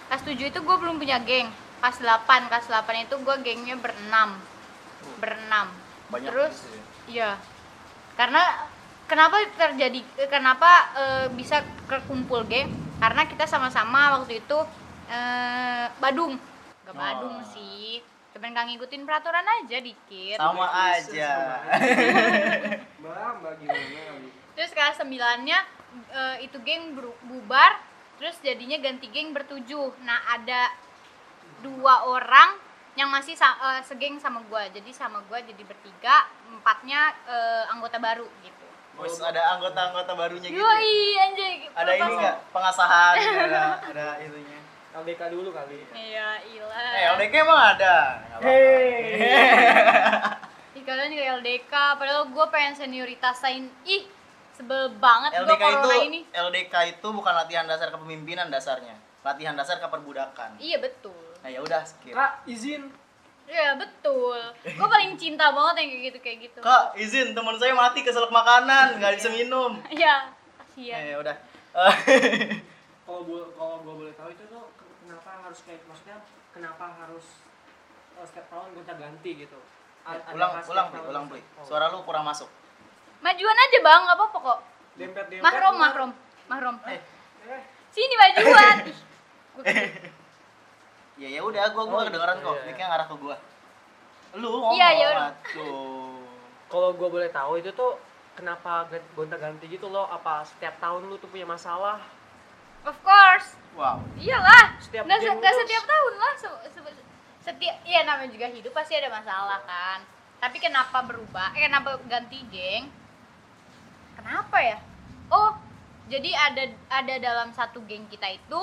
C: Kelas 7 itu gue belum punya geng. Kelas 8, kelas 8 itu gue gengnya berenam. Berenam.
A: Banyak
C: terus
A: gitu ya.
C: iya karena kenapa terjadi kenapa eh, bisa kekumpul geng karena kita sama-sama waktu itu eh, Badung
A: Oh.
C: gak Badung sih cuman gak ngikutin peraturan aja dikit
A: Sama
B: Yesus,
A: aja.
B: sama Mbak, mbak gimana?
C: terus kelas sembilannya eh, itu geng beru- bubar terus jadinya ganti geng bertujuh nah ada dua orang yang masih sa- eh, segeng sama gua jadi sama gua jadi bertiga empatnya eh, anggota baru gitu
A: Terus ada anggota-anggota barunya gitu. ya?
C: Yoi, anjay.
A: Ada ini
C: pelepasan.
A: enggak pengasahan ada ada itunya.
B: LDK dulu kali.
C: Iya, ilah.
A: Eh, LDK emang ada. Nggak apa-apa.
C: Ih, kalian juga LDK, padahal gue pengen senioritasain. Ih, sebel banget gue
A: LDK itu
C: corona ini.
A: LDK itu bukan latihan dasar kepemimpinan dasarnya. Latihan dasar keperbudakan.
C: Iya, betul.
A: Nah, ya udah skip.
B: Kak, izin.
C: Iya, betul. Gue paling cinta banget yang kayak gitu kayak gitu.
A: Kak, izin teman saya mati keselak makanan, nggak bisa minum.
C: Iya, kasihan.
A: Eh, ya udah. Eh,
B: Kalau gue kalau gua boleh tahu itu tuh ken- kenapa harus kayak maksudnya kenapa harus eh, setiap tahun gonta ganti gitu? A- adakah
A: Eh, ulang, ulang, Pli,
B: setiap tahun-
A: ulang, Pli.
B: Oh.
A: Suara lu kurang masuk.
C: Majuan aja, Bang. Gak apa-apa kok.
B: dempet dempet.
C: Mahrom,
B: ulang.
C: mahrom. Mahrom.
A: Eh,
B: Eh,
C: Sini majuan. Ih, gua gitu. kaget.
A: ya ya udah, gua gua
B: Oh,
A: kedengeran kok.
B: iya.
A: Mic-nya ngarah ke gua. Lu ngomong.
C: Iya, ya udah.
A: Tuh.
B: Kalau gue boleh tahu itu tuh kenapa gonta ganti gitu loh? Apa setiap tahun lu tuh punya masalah?
C: of course.
A: Wow.
C: Iyalah.
B: Setiap
C: nggak, se-
B: game
C: nggak
B: lu-
C: setiap tahun lah. Se- se- setiap iya namanya juga hidup pasti ada masalah kan. Tapi kenapa berubah? Eh kenapa ganti geng? Kenapa ya? Oh, jadi ada ada dalam satu geng kita itu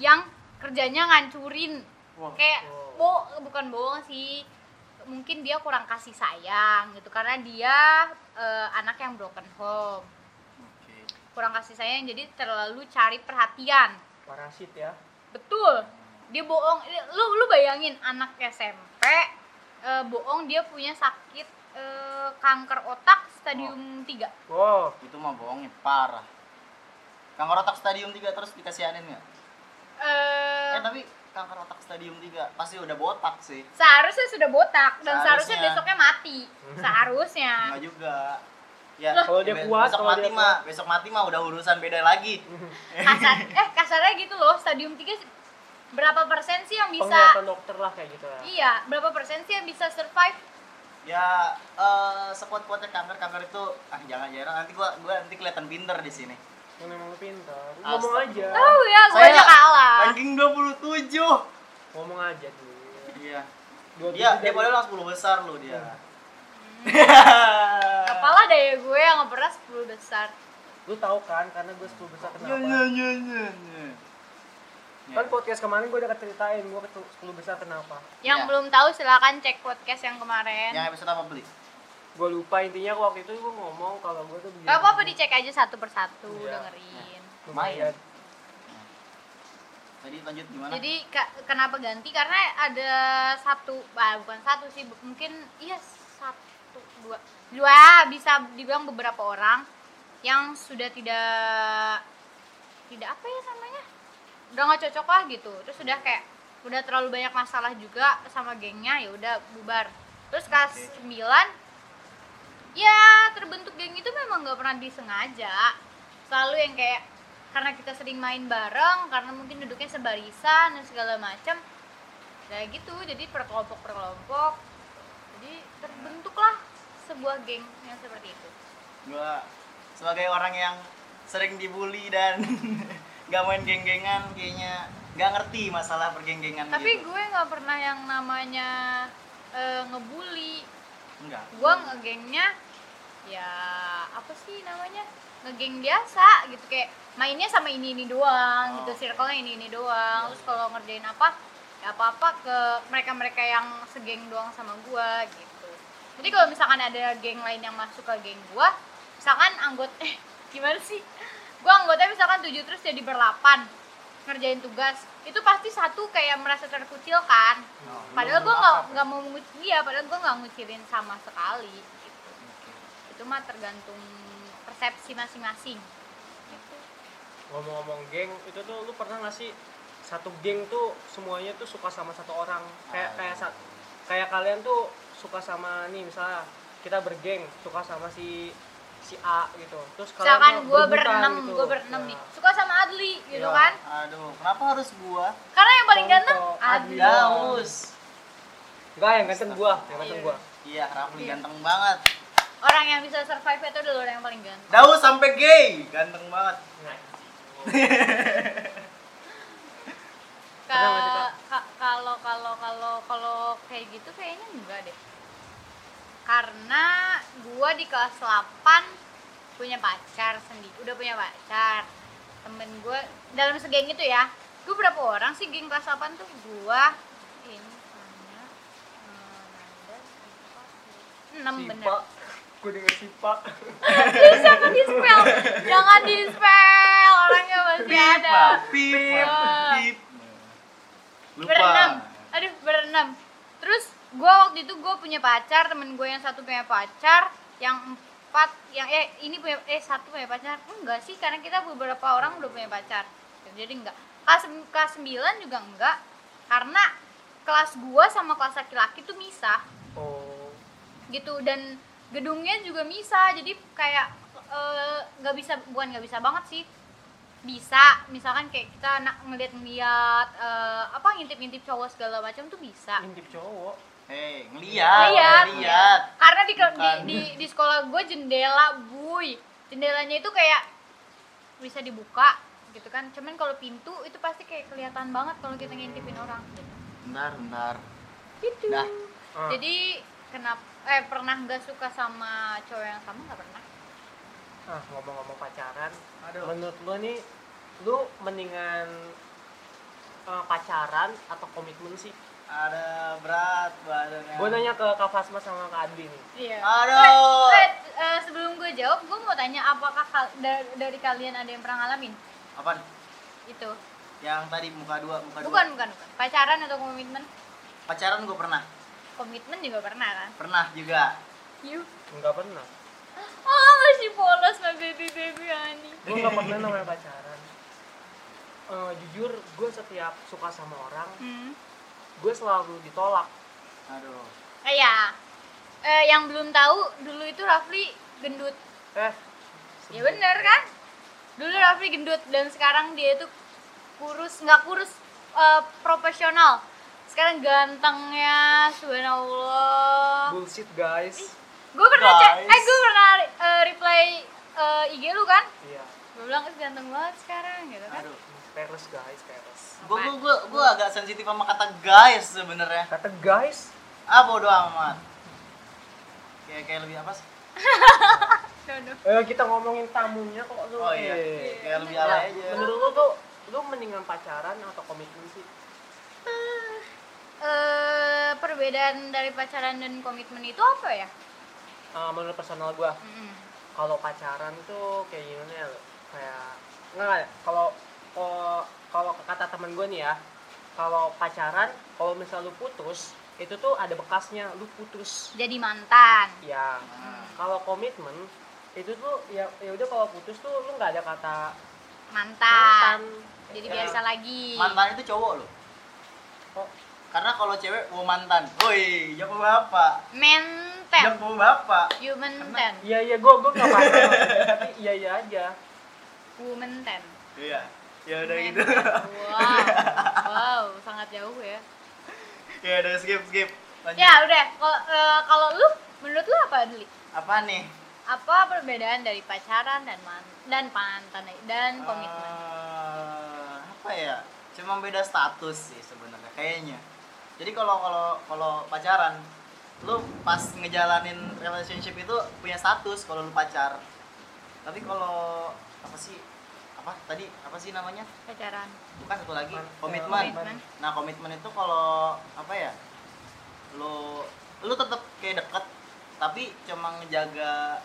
C: yang kerjanya ngancurin.
A: Wah.
C: Kayak
B: Oh.
C: bo bukan bohong sih. Mungkin dia kurang kasih sayang gitu karena dia eh, anak yang broken home.
A: Oke.
C: Kurang kasih sayang jadi terlalu cari perhatian.
B: Parasit ya.
C: Betul. Dia bohong. Lu lu bayangin anak SMP eh, bohong dia punya sakit eh, kanker otak stadium 3.
B: Wow.
A: Itu mah bohongnya parah. Kanker otak stadium 3 terus dikasihanin nggak?
C: Eh,
A: Eh, tapi kanker otak stadium 3 pasti udah botak sih.
C: seharusnya sudah botak dan
A: Seharusnya.
C: seharusnya, besoknya mati. Seharusnya.
A: Enggak juga. Ya,
C: Loh.
B: Ah. Kalau dia
A: be-
B: kuat,
A: besok
B: kalau
A: mati
B: dia
A: mah, besok mati mah udah urusan beda lagi.
C: Kasar eh kasarnya gitu loh, stadium 3 berapa persen sih yang bisa
B: Penglihatan dokter lah kayak gitu ya.
C: Iya, berapa persen sih yang bisa survive?
A: ya eh sekuat-kuatnya kanker, kanker itu ah jangan jangan nanti gua gua nanti kelihatan pinter di sini.
B: Yang emang lu pintar.
A: Astaga.
B: Lu Ngomong Ah, aja.
C: Tahu ya, gue aja kalah.
A: ranking 27.
B: Ngomong aja dulu.
A: Iya.
B: Dua
A: Dia
B: tujuh Hmm.
A: dia
B: dari-
A: padahal langsung 10 besar loh dia.
C: Kepala daya gue yang nggak pernah 10 besar.
B: Lu tahu kan karena gue 10
C: Iya,
B: besar
A: Ya,
B: kenapa?
A: ya, ya, ya, ya.
B: Kan podcast kemarin gue udah ceritain gue ke 10 besar kenapa.
C: Yang
A: Iya.
C: belum tahu silakan cek podcast yang kemarin.
A: Yang episode apa beli?
B: Gue lupa intinya waktu itu gue ngomong kalau gue tuh begini.
C: Gak apa-apa dicek aja satu persatu
B: Iya.
C: dengerin.
B: Lumayan.
A: Tadi lanjut gimana?
C: Jadi ka- kenapa ganti? Karena ada satu, ah, bukan satu sih, bu- mungkin iya satu dua dua bisa dibilang beberapa orang yang sudah tidak tidak apa ya namanya udah nggak cocok lah gitu terus sudah kayak udah terlalu banyak masalah juga sama gengnya ya udah bubar terus kelas
A: Oke.
C: 9 ya terbentuk geng itu memang nggak pernah disengaja selalu yang kayak karena kita sering main bareng karena mungkin duduknya sebarisan dan segala macam kayak gitu jadi per kelompok per kelompok jadi terbentuklah sebuah geng yang seperti itu
A: gua sebagai orang yang sering dibully dan gak main geng-gengan kayaknya gak ngerti masalah pergeng-gengan
C: tapi
A: gitu.
C: gue nggak pernah yang namanya eh, ngebully
A: enggak
C: gue ngegengnya ya apa sih namanya ngegeng biasa gitu kayak mainnya sama ini ini doang
A: Oh.
C: gitu circle-nya ini ini doang terus kalau ngerjain apa ya apa apa ke mereka mereka yang segeng doang sama gua gitu jadi kalau misalkan ada geng lain yang masuk ke geng gua misalkan anggota eh gimana sih gua anggota misalkan tujuh terus jadi berlapan ngerjain tugas itu pasti satu kayak merasa terkucilkan
A: Oh, lu
C: padahal gue
A: belum
C: nggak
A: apa-apa.
C: nggak mau mengucil dia padahal gue nggak ngucilin sama sekali gitu.
A: Oke.
C: itu mah tergantung persepsi masing-masing
B: Ngomong-ngomong geng, itu tuh lu pernah gak sih satu geng tuh semuanya tuh suka sama satu orang kayak kayak sa- kayak kalian tuh suka sama nih misalnya kita bergeng suka sama si si A gitu terus kalau
C: misalkan
B: mau
C: gue
B: berbukan
C: berenam
B: gitu.
C: gue berenam
B: Nah,
C: nih suka sama Adli gitu
B: Iya.
C: kan
A: Aduh, kenapa harus gua?
C: karena yang paling ganteng
B: Contoh,
C: Adli
B: Adli.
A: Daus.
B: enggak yang ganteng gua yang ganteng gua
A: Iya, Rafli ganteng banget.
C: orang yang bisa survive itu adalah orang yang paling ganteng
A: Daus sampai gay, ganteng banget.
C: Iya. Ka- ka- kalau kalau kalau kalau kayak gitu kayaknya enggak deh karena gue di kelas 8 punya pacar sendiri udah punya pacar temen gue dalam segeng itu ya gue berapa orang sih geng kelas 8 tuh gue ini Fana, eh, Nanda, Sipa, enam
B: si
C: bener
B: Pa gue denger si Pa
C: bisa kan di spell jangan di spell orangnya masih Iya, ada
A: pip,
C: Wah.
A: pip. Lupa.
C: berenam aduh berenam terus gue waktu itu gue punya pacar temen gue yang satu punya pacar yang empat yang eh ini punya eh satu punya pacar enggak sih karena kita beberapa orang udah punya pacar jadi enggak kelas kelas sembilan juga enggak karena kelas gue sama kelas laki-laki tuh misah
B: oh
C: gitu dan gedungnya juga bisa jadi kayak eh, nggak bisa bukan nggak bisa banget sih bisa misalkan kayak kita nak ngeliat-ngeliat eh, apa ngintip-ngintip cowok segala macam tuh bisa
B: intip cowok
A: Hei, Eh, ngeliat,
C: Lihat.
A: ngeliat.
C: karena di ke- di,
A: Bukan.
C: di, di sekolah gue jendela buy jendelanya itu kayak bisa dibuka gitu kan cuman kalau pintu itu pasti kayak kelihatan banget kalau kita ngintipin orang gitu.
A: Bentar, bentar.
C: gitu
A: Dah.
B: Ah.
C: jadi kenapa eh pernah nggak suka sama cowok yang sama nggak pernah
B: ah ngomong-ngomong pacaran
A: Aduh.
B: menurut lu nih lu mendingan eh, pacaran atau komitmen sih
A: Ada berat badannya.
B: gue nanya ke Kak Fasma sama Kak Adi nih
C: Iya.
A: Aduh.
C: Eh, eh, sebelum gue jawab, gue mau tanya apakah kal- da- dari kalian ada yang pernah ngalamin
A: Apa?
C: itu?
A: Yang tadi muka dua, muka dua.
C: Bukan, bukan, bukan. Pacaran atau komitmen?
A: Pacaran gue pernah.
C: Komitmen juga pernah kan?
A: Pernah juga.
C: You.
B: nggak pernah
C: Oh, masih polos sama baby baby Ani.
B: gue nggak pernah namanya pacaran Eh, jujur gue setiap suka sama orang
C: Hmm.
B: gue selalu ditolak
A: Aduh.
C: Eh ya. Eh, yang belum tahu, dulu itu Rafli gendut.
B: eh
C: Ya bener kan? Dulu Rafli gendut dan sekarang dia itu kurus, nggak kurus eh, profesional. Sekarang gantengnya, subhanallah.
B: bullshit guys
C: gue pernah cek
A: Guys.
C: eh gue pernah eh, reply eh, IG lu kan
B: iya
C: gue bilang "Ih, ganteng banget sekarang gitu kan
A: Aduh.
B: peres guys peres
A: Gue gua, gua, gua agak sensitif sama kata guys sebenarnya.
B: kata guys
A: Ah bodo amat. Kayak kayak lebih apa sih?
C: Aduh.
B: eh, kita ngomongin tamunya kok lu
A: Oh iya.
B: Eh.
A: Kayak lebih
B: Nah,
A: alay aja.
B: menurut lu tuh lu mendingan pacaran atau komitmen sih
C: Eh, perbedaan dari pacaran dan komitmen itu apa ya
B: Eh, menurut personal gue
C: Mm-mm.
B: kalau pacaran tuh kayak gimana ya kayak nggak kalau kalau- kalau kata teman gue nih ya kalau pacaran kalau misal lu putus itu tuh ada bekasnya lu putus
C: jadi mantan
B: ya
A: Nah,
B: kalau komitmen itu tuh ya ya udah kalau putus tuh lu nggak ada kata
C: mantan
B: mantan
C: jadi
B: Ya, Oh,
C: biasa lagi
A: Mantan itu cowok loh.
B: kok
A: Karena kalau cewek mau mantan. Woi, jago bapak.
C: menten
A: Jago bapak.
C: human ten
B: iya iya gue gue nggak paham maksudnya, tapi iya iya aja
C: woman ten
A: Iya. Ya udah
C: Men
A: gitu.
C: ten. wow wow sangat jauh ya
A: ya udah skip skip. Lanjut.
C: ya udah kalau eh, kalau lu menurut lu apa Adli
A: Apa nih?
C: apa perbedaan dari pacaran dan man dan mantan
A: Ah.
C: dan Kan komitmen
A: Eh, apa ya? Cuma beda status sih sebenarnya kayaknya. Jadi kalau kalau kalau pacaran lu pas ngejalanin relationship itu punya status kalau lu pacar. Tapi kalau apa sih? Apa tadi apa sih namanya?
C: pacaran
A: bukan satu lagi
B: Man-
A: komitmen.
C: komitmen
A: Nah komitmen itu kalau apa ya? Lo lu tetap kayak deket tapi cuma ngejaga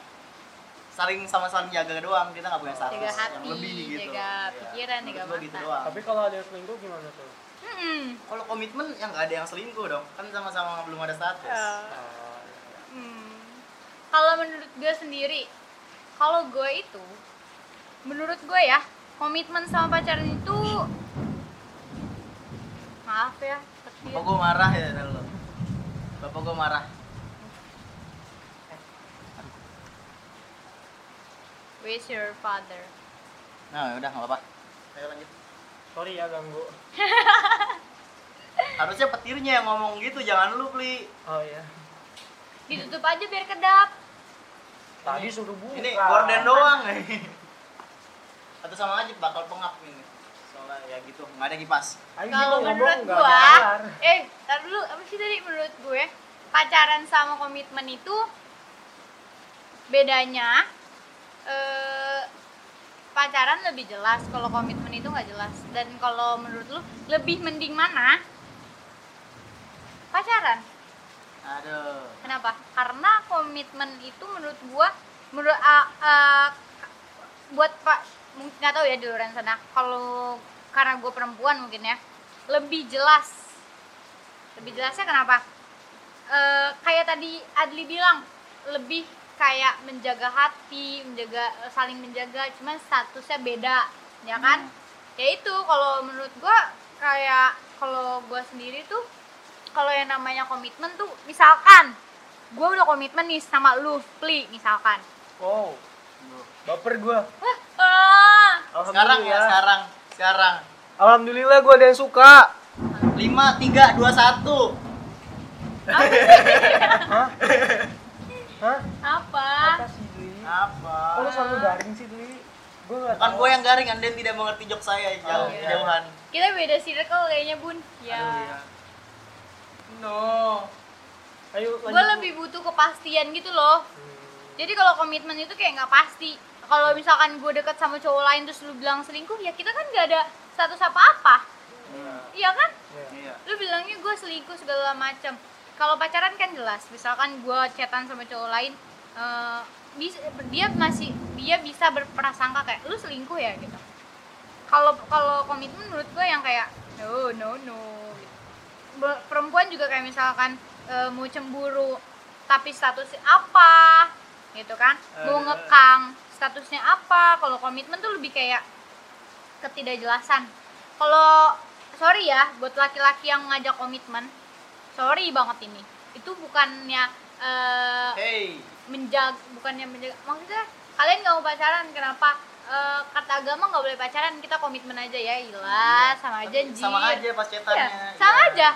A: saling sama-sama jaga doang kita nggak punya status
C: Oh. jaga hati
A: yang lebih gitu.
C: jaga
A: Iya.
C: pikiran jaga
A: Menurut gua gitu
C: mata
A: doang.
B: tapi kalau ada selingkuh gimana tuh
C: Mm-mm.
A: Kalau komitmen yang nggak ada yang selingkuh dong kan sama-sama belum ada status.
C: Eh,
B: Oh,
C: mm. kalau menurut gue sendiri kalau gue itu menurut gue ya komitmen sama pacaran itu maaf ya petir
A: Bapak gue marah ya dari lo. Bapak gue marah.
B: iya.
C: With your father.
A: Nah, ya udah nggak apa-apa. Ayo lanjut.
B: sorry ya ganggu
A: Harusnya petirnya yang ngomong gitu, jangan lu, Pli.
B: oh iya
C: Ditutup aja biar kedap.
B: tadi suruh buka
A: Ini gorden doang. eh. Atau sama aja bakal pengap ini. Soalnya ya gitu, nggak ada kipas.
B: Ayo
C: Kalau
B: gini
C: menurut
B: ngomong, nggak
C: gua,
B: kelar.
C: eh, tar dulu apa sih tadi menurut gue pacaran sama komitmen itu bedanya eh, pacaran lebih jelas kalau komitmen itu nggak jelas dan kalau menurut lu lebih mending mana pacaran
A: Aduh.
C: Kenapa? Karena komitmen itu menurut gua menurut a- a- buat Pak mungkin nggak tahu ya di luar sana. Kalau karena gua perempuan mungkin ya lebih jelas. Lebih jelasnya kenapa? Eh, kayak tadi Adli bilang lebih kayak menjaga hati, menjaga eh, saling menjaga, cuman statusnya beda, ya kan? Ya itu kalau menurut gua kayak kalau gua sendiri tuh kalau yang namanya komitmen tuh misalkan gue udah komitmen nih sama lu Pli misalkan
B: wow baper gua
C: Hah, ah.
A: Sekarang ya, sekarang. Sekarang.
B: alhamdulillah gua ada yang suka
A: 5 3 2 1.
B: hah hah
C: apa
B: apa sih Dwi
A: Apa?
B: Kok lu selalu garing sih Dwi gua nggak
A: Bukan
B: tahu.
A: gue yang garing, Anda yang tidak mengerti jok saya jauh
B: Oh, iya.
A: kejauhan.
C: kita beda circle kayaknya bun ya
A: No.
B: ayo
C: gue
B: lanjut.
C: lebih butuh kepastian gitu loh
B: Hmm.
C: jadi kalau komitmen itu kayak nggak pasti kalau misalkan gue deket sama cowok lain terus lu bilang selingkuh ya kita kan nggak ada status apa-apa iya kan
A: Iya.
B: Iya.
C: lu bilangnya gue selingkuh segala macam kalau pacaran kan jelas misalkan gue chatan sama cowok lain eh, bis- dia masih dia bisa berprasangka kayak lu selingkuh ya gitu kalau kalau komitmen menurut gue yang kayak no no no gitu. Be- perempuan juga kayak misalkan eh, mau cemburu tapi statusnya apa gitu kan mau
A: Eh.
C: ngekang statusnya apa kalau komitmen tuh lebih kayak ketidakjelasan kalau sorry ya buat laki-laki yang ngajak komitmen sorry banget ini itu bukannya eh,
A: Hey.
C: menjaga bukannya menjaga maksudnya kalian nggak mau pacaran kenapa Eh, kata agama nggak boleh pacaran kita komitmen aja ya ilah sama aja anjir.
A: Iya, Sama aja pas gitu. cetannya.
C: Iya, sama aja.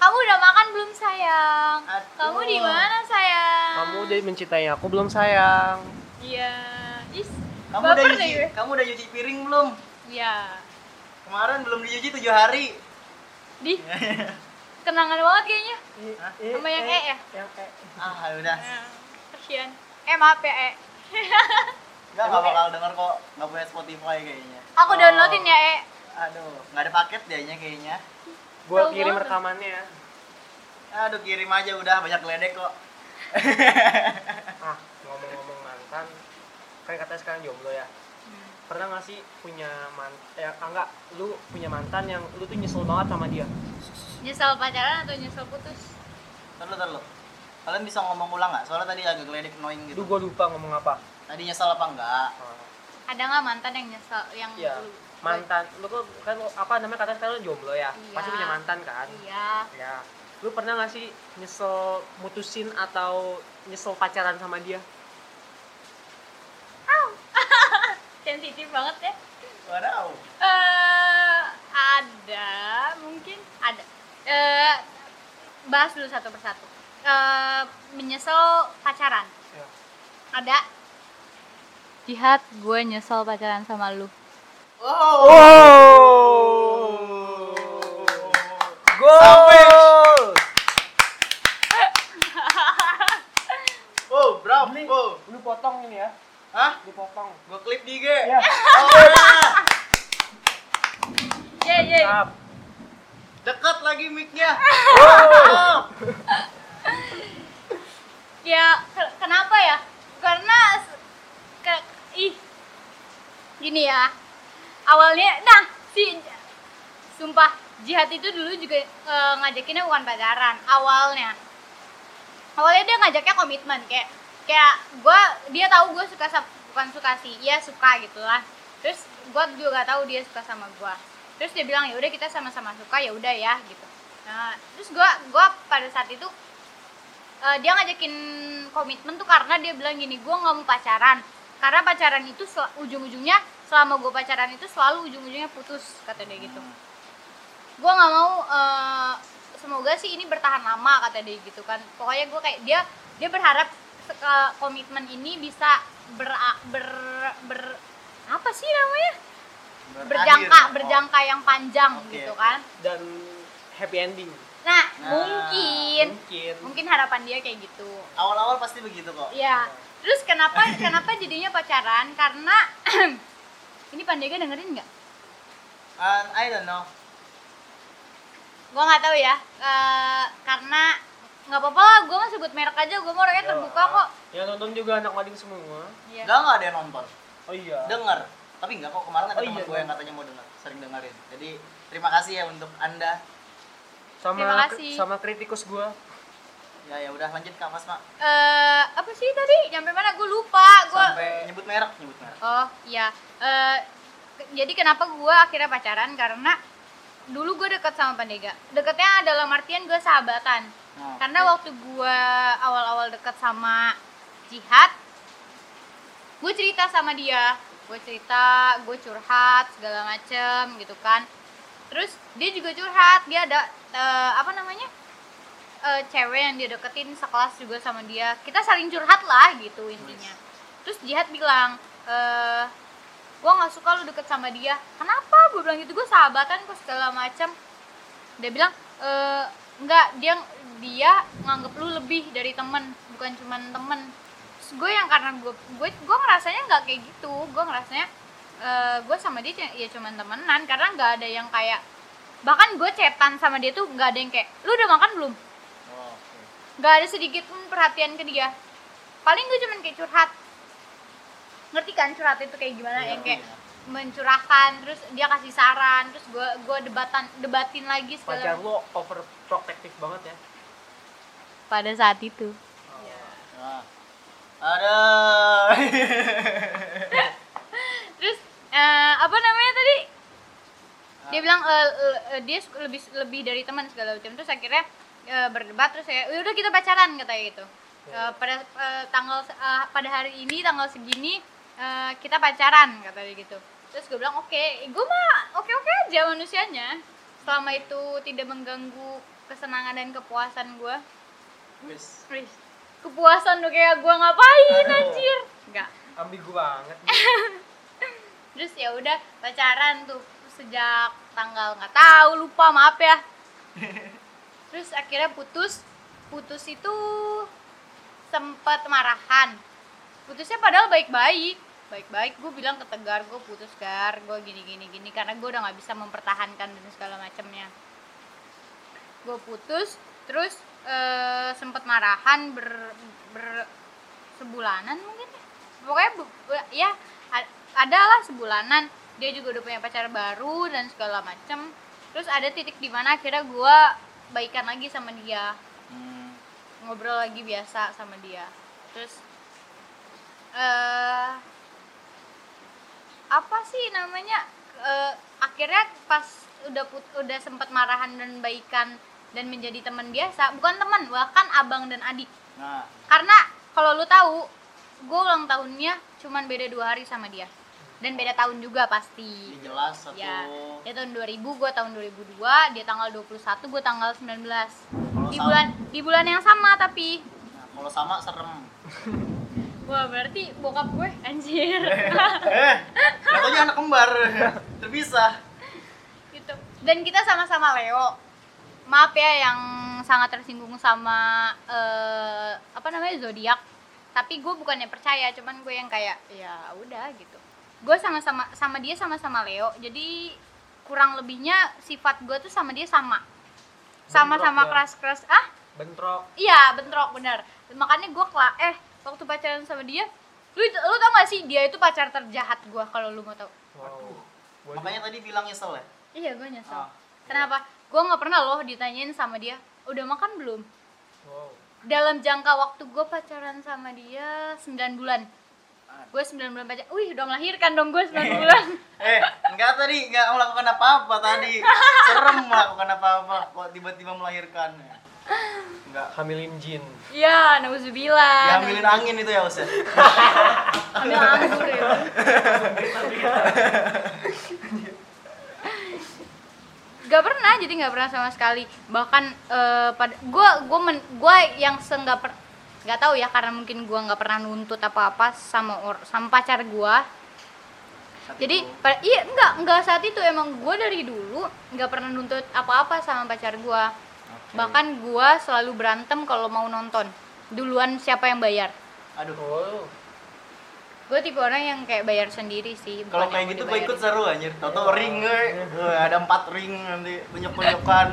C: kamu udah makan belum sayang
A: Aduh.
C: kamu di mana sayang
B: kamu udah mencintai aku belum sayang
C: iya is
A: Kamu
C: baper
A: udah
C: deh
A: nyuci,
C: gue.
A: kamu udah nyuci piring belum?
C: iya
A: Kemarin belum dicuci 7 hari.
C: di kenangan banget kayaknya
B: I-
A: Hah?
B: i-
C: Sama yang E ya?
B: yang E
A: ah, udah.
C: Hmm. Nah, kasihan eh maaf ya eh
A: Enggak enggak bakal denger kok. Enggak punya Spotify kayaknya.
C: aku
B: Oh.
C: downloadin ya eh
A: Aduh, enggak ada paket dianya kayaknya.
B: gua
C: Tahu
B: kirim
C: banget.
B: rekamannya
A: Aduh, kirim aja udah banyak ledek kok.
B: ah ngomong-ngomong mantan kan katanya sekarang jomblo ya pernah nggak sih punya mantan ya enggak lu punya mantan yang lu tuh nyesel banget sama dia
C: nyesel pacaran atau nyesel putus
A: Terus terus. Kalian bisa ngomong ulang nggak? Soalnya tadi agak ledek annoying
B: Aduh,
A: gitu.
B: gua lupa ngomong apa
A: Tadi nyesel apa enggak?
B: Ah,
C: ada nggak mantan yang nyesel yang
B: Iya.
C: Hmm, lu-
B: mantan lu kan kan lu- apa namanya katanya sekarang lu jomblo ya
C: Iya.
B: pasti punya mantan kan
C: iya
B: ya lu pernah nggak sih nyesel mutusin atau nyesel pacaran sama dia
C: sensitif banget ya
A: Waduh.
C: eh ada mungkin ada eh bahas dulu satu persatu eh menyesal pacaran
B: Ya.
C: ada jihad gue nyesel pacaran sama lu
A: Wow.
B: Gol!
A: Oh, bravo.
B: Ini
A: Oh.
B: lu potong ini ya,
A: Hah?
B: lu potong.
A: Gua klip di IG.
B: Ya.
A: Oh, iya.
C: ya ya
B: Tap.
A: Dekat lagi mic-nya. Oh.
C: ya ke- kenapa ya karena s- ke- ih gini ya awalnya nah si sumpah jihad itu dulu juga eh, ngajakinnya bukan pacaran awalnya awalnya dia ngajaknya komitmen kayak kayak gue dia tahu gue suka sa- bukan suka sih ya suka gitulah terus gue juga gak tahu dia suka sama gue terus dia bilang ya udah kita sama-sama suka ya udah ya gitu nah terus gue gua pada saat itu eh, dia ngajakin komitmen tuh karena dia bilang gini gue nggak mau pacaran karena pacaran itu sel- ujung-ujungnya selama gue pacaran itu selalu ujung-ujungnya putus kata dia gitu gue nggak mau eh, semoga sih ini bertahan lama kata dia gitu kan pokoknya gue kayak dia dia berharap se- eh, komitmen ini bisa ber, ber ber apa sih namanya
A: Berakhir.
C: berjangka
A: Oh.
C: berjangka yang panjang
A: Oke,
C: gitu
A: oke.
C: kan
D: dan happy ending
C: nah,
A: Nah,
C: mungkin
D: mungkin
C: mungkin harapan dia kayak gitu
A: Awal-awal pasti begitu kok.
C: ya terus kenapa kenapa jadinya pacaran karena ini Pandega dengerin nggak
A: And I don't know.
C: gua nggak tahu ya Eh, karena nggak apa-apa lah gue mah sebut merek aja gue mau orangnya Eh, terbuka kok
D: yang Ya, nonton juga anak mading semua
C: Iya.
A: Enggak enggak ada yang nonton.
D: oh iya
A: Denger. Tapi enggak kok kemarin ada
D: Oh,
A: teman
D: iya,
A: gue yang
D: nonton.
A: katanya mau denger, sering dengerin. Jadi terima kasih ya untuk Anda.
C: Terima
D: sama
C: kasih.
D: sama kritikus gua
A: Ya ya udah lanjut Kak Mas Mak.
C: Eh, apa sih tadi nyampe mana gue lupa gue
A: Sampai nyebut merek, nyebut merek.
C: oh iya Eh, ke- jadi kenapa gue akhirnya pacaran karena dulu gue deket sama Pandega deketnya dalam artian gue sahabatan
A: Nah,
C: karena waktu gue awal-awal deket sama Jihad gue cerita sama dia gue cerita gue curhat segala macem gitu kan terus dia juga curhat dia ada eh, apa namanya eh, cewek yang dia deketin sekelas juga sama dia kita saling curhat lah gitu intinya terus Jihad bilang eh gue nggak suka lu deket sama dia kenapa gue bilang gitu gue sahabatan kok segala macem dia bilang e, nggak dia dia nganggep lu lebih dari temen bukan cuman temen Terus gue yang karena gue gue gue ngerasanya nggak kayak gitu gue ngerasanya eh, gue sama dia c- ya cuman temenan karena nggak ada yang kayak bahkan gue cetan sama dia tuh nggak ada yang kayak lu udah makan belum
A: Oh, oke.
C: nggak ada sedikit pun perhatian ke dia paling gue cuman kayak curhat ngerti kan curhat itu kayak gimana
A: Iya,
C: yang kayak
A: iya.
C: mencurahkan terus dia kasih saran terus gue gue debatan debatin lagi segala
D: pacar lu overprotective banget ya
C: pada saat itu Iya.
A: Nah. Ada.
C: terus eh, apa namanya tadi dia bilang eh, eh, eh, dia suka- lebih lebih dari teman segala macam terus akhirnya eh, berdebat terus saya udah kita pacaran katanya gitu Eh, pada eh, tanggal se- eh, pada hari ini tanggal segini eh, kita pacaran katanya gitu terus gue bilang oke gue mah oke oke aja manusianya selama itu tidak mengganggu kesenangan dan kepuasan gue
A: Wis.
C: Wih, kepuasan tuh kayak gue ngapain anjir enggak
D: ambigu banget
C: terus ya udah pacaran tuh sejak tanggal nggak tahu lupa maaf ya terus akhirnya putus putus itu sempet marahan putusnya padahal baik-baik baik-baik gue bilang ke tegar gue putus gar gue gini gini gini karena gue udah nggak bisa mempertahankan dan segala macamnya gue putus terus eh, sempet marahan ber, ber- sebulanan mungkin ya. pokoknya bu- bu- ya a- adalah sebulanan dia juga udah punya pacar baru dan segala macem terus ada titik dimana akhirnya gue baikan lagi sama dia
A: Hmm.
C: ngobrol lagi biasa sama dia terus eh apa sih namanya Eh, akhirnya pas udah put- udah sempat marahan dan baikan dan menjadi teman biasa bukan teman bahkan abang dan adik
A: Nah,
C: karena kalau lu tahu gue ulang tahunnya cuman beda dua hari sama dia dan beda tahun juga pasti
A: ini jelas satu.
C: ya dia tahun 2000 gue tahun 2002 dia tanggal 21 gue tanggal 19
A: Kalau
C: di
A: sama-
C: bulan di bulan yang sama tapi
A: Nah, kalau sama serem.
C: wah berarti bokap gue anjir
A: eh, katanya anak kembar. Terpisah.
C: gitu dan kita sama-sama Leo maaf ya yang sangat tersinggung sama eh, apa namanya zodiak tapi gue bukannya percaya cuman gue yang kayak ya udah gitu gue sama-sama sama dia sama-sama Leo jadi kurang lebihnya sifat gue tuh sama dia sama
D: Bentrok
C: sama-sama
D: ya?
C: keras-keras ah
D: bentrok
C: Iya bentrok bener Makanya gue kela eh waktu pacaran sama dia lu lu tau gak sih dia itu pacar terjahat gue kalau lu mau tau
D: wow Waduh.
A: Makanya tadi bilang nyesel ya.
C: Iya gue nyesel
A: Ah.
C: Kenapa? Gue nggak pernah loh ditanyain sama dia udah makan belum
D: wow
C: dalam jangka waktu gue pacaran sama dia 9 bulan
A: Ah.
C: gue 9 bulan pacaran, wih udah melahirkan dong gue 9 bulan
A: Eh, enggak tadi, enggak melakukan apa-apa tadi. Serem melakukan apa-apa kok tiba-tiba melahirkan. Enggak.
D: hamilin jin
C: Iya, nauzubillah.
A: Diambilin angin itu ya, Ustaz.
C: Ambil anggur ya. Gak pernah, jadi gak pernah sama sekali. Bahkan eh, pada gue gue gue yang se nggak per nggak tahu ya karena mungkin gue nggak pernah nuntut apa apa sama or, sama pacar gue. Jadi pa- iya nggak nggak saat itu emang gue dari dulu nggak pernah nuntut apa-apa sama pacar gue. Bahkan gue selalu berantem kalau mau nonton. Duluan siapa yang bayar?
A: aduh.
D: oh
C: gue tipe orang yang kayak bayar sendiri sih bukan
A: Kalau
C: yang
A: kayak gitu gue
C: dibayarin.
A: ikut seru anjir. Toto ring eh. Eh, ada empat ring nanti penyok-penyokan.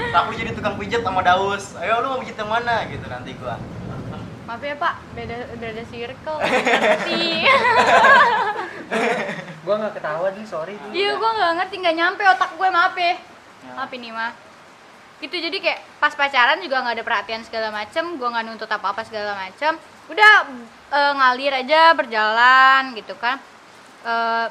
A: Aku jadi tukang pijat sama Daus. Ayo lu mau pijat yang mana gitu nanti gua.
C: maaf ya pak beda beda circle nggak ngerti
D: gua nggak ketawa nih sorry Di.
C: iya gue nggak ngerti nggak nyampe otak gue maaf
A: Ya.
C: ya maaf ini mah gitu jadi kayak pas pacaran juga nggak ada perhatian segala macem gue nggak nuntut apa apa segala macem udah eh, ngalir aja berjalan gitu kan Eh,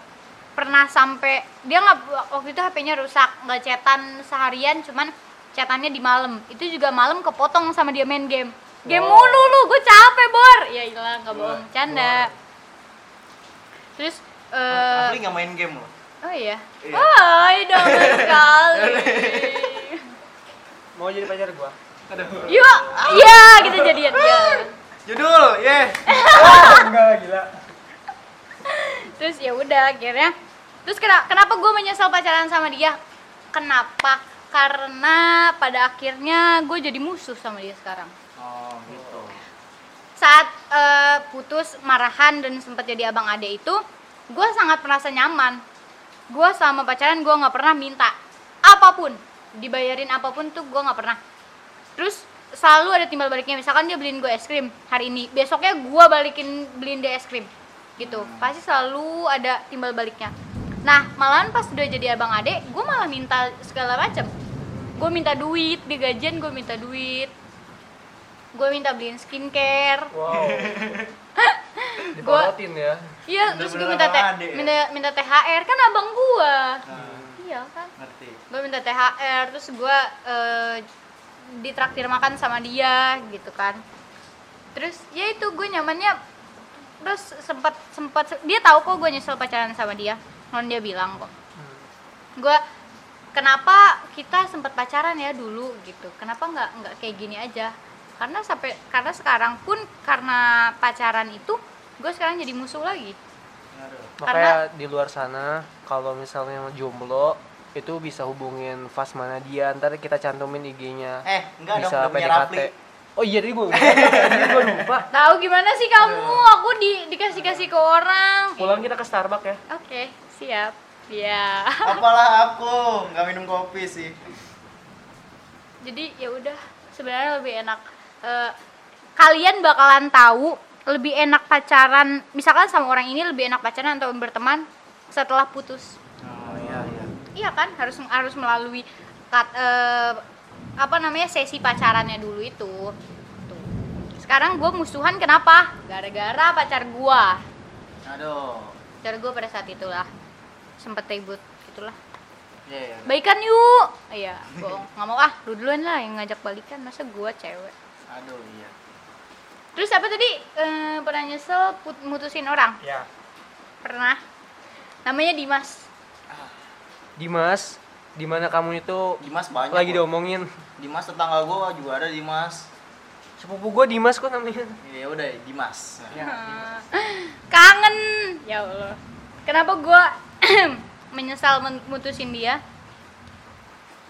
C: pernah sampai dia nggak waktu itu HP-nya rusak nggak cetan seharian cuman cetannya di malam itu juga malam kepotong sama dia main game game
D: Wow.
C: mulu lu gue capek bor ya ilah nggak bohong canda terus eh,
A: Asli nggak main game lo.
C: Oh iya.
A: Iya.
C: Hai, damai sekali.
D: mau jadi pacar gua
C: Yuk, iya kita jadian ya.
A: Judul, ye.
D: enggak gila
C: Terus ya udah akhirnya. Terus kena- kenapa gue menyesal pacaran sama dia? Kenapa? Karena pada akhirnya gue jadi musuh sama dia sekarang.
A: Oh, gitu.
C: Saat eh, putus marahan dan sempat jadi abang ade itu, gue sangat merasa nyaman. Gue sama pacaran gue nggak pernah minta apapun, dibayarin apapun tuh gue nggak pernah. terus selalu ada timbal baliknya misalkan dia beliin gue es krim hari ini besoknya gue balikin beliin dia es krim gitu pasti selalu ada timbal baliknya nah malahan pas udah jadi abang ade gue malah minta segala macem gue minta duit di gajian gue minta duit gue minta beliin skincare
D: wow
C: Gua-
D: diporotin ya
C: iya terus gue minta
A: Bener-bener abang
C: te-
A: ade ya?
C: minta minta thr kan abang gue
A: Nah,
C: iya kan
A: ngerti.
C: gue minta THR terus gue ditraktir makan sama dia gitu kan terus ya itu gue nyamannya terus sempat sempat dia tahu kok gue nyesel pacaran sama dia non dia bilang kok gue kenapa kita sempat pacaran ya dulu gitu kenapa nggak nggak kayak gini aja karena sampai karena sekarang pun karena pacaran itu gue sekarang jadi musuh lagi
A: Aduh.
D: makanya di luar sana kalau misalnya jomblo itu bisa hubungin Fas Manadia ntar kita cantumin IG-nya
A: Eh, enggak dong,
D: bisa
A: udah punya
D: PDKT.
A: Rafli.
D: oh iya tadi gue gue lupa
C: tahu gimana sih kamu aku di dikasih kasih ke orang
D: pulang kita ke Starbucks ya
C: Oke, siap. Ya.
A: Apalah aku, nggak minum kopi sih.
C: Jadi ya udah, sebenarnya lebih enak eh, kalian bakalan tahu lebih enak pacaran misalkan sama orang ini lebih enak pacaran atau berteman setelah putus.
A: Oh iya iya.
C: Iya kan? Harus harus melalui kat- eh, apa namanya? sesi pacarannya dulu itu. Tuh. Sekarang gue musuhan kenapa? Gara-gara pacar gue.
A: Aduh.
C: Pacar gue pada saat itulah sempet ribut gitulah.
A: Iya iya.
C: baikan yuk iya bohong nggak mau ah lu duluan lah yang ngajak balikan masa gua cewek
A: Aduh iya.
C: terus apa tadi Eh, pernah nyesel put- mutusin orang
D: ya
C: pernah namanya Dimas
D: Dimas di mana kamu itu
A: Dimas banyak.
D: lagi
A: loh.
D: diomongin
A: Dimas tetangga gua juga ada Dimas.
D: sepupu gue Dimas kok namanya
A: Ya udah Dimas.
C: Ya. Eh, kangen ya allah kenapa gua menyesal men- mutusin dia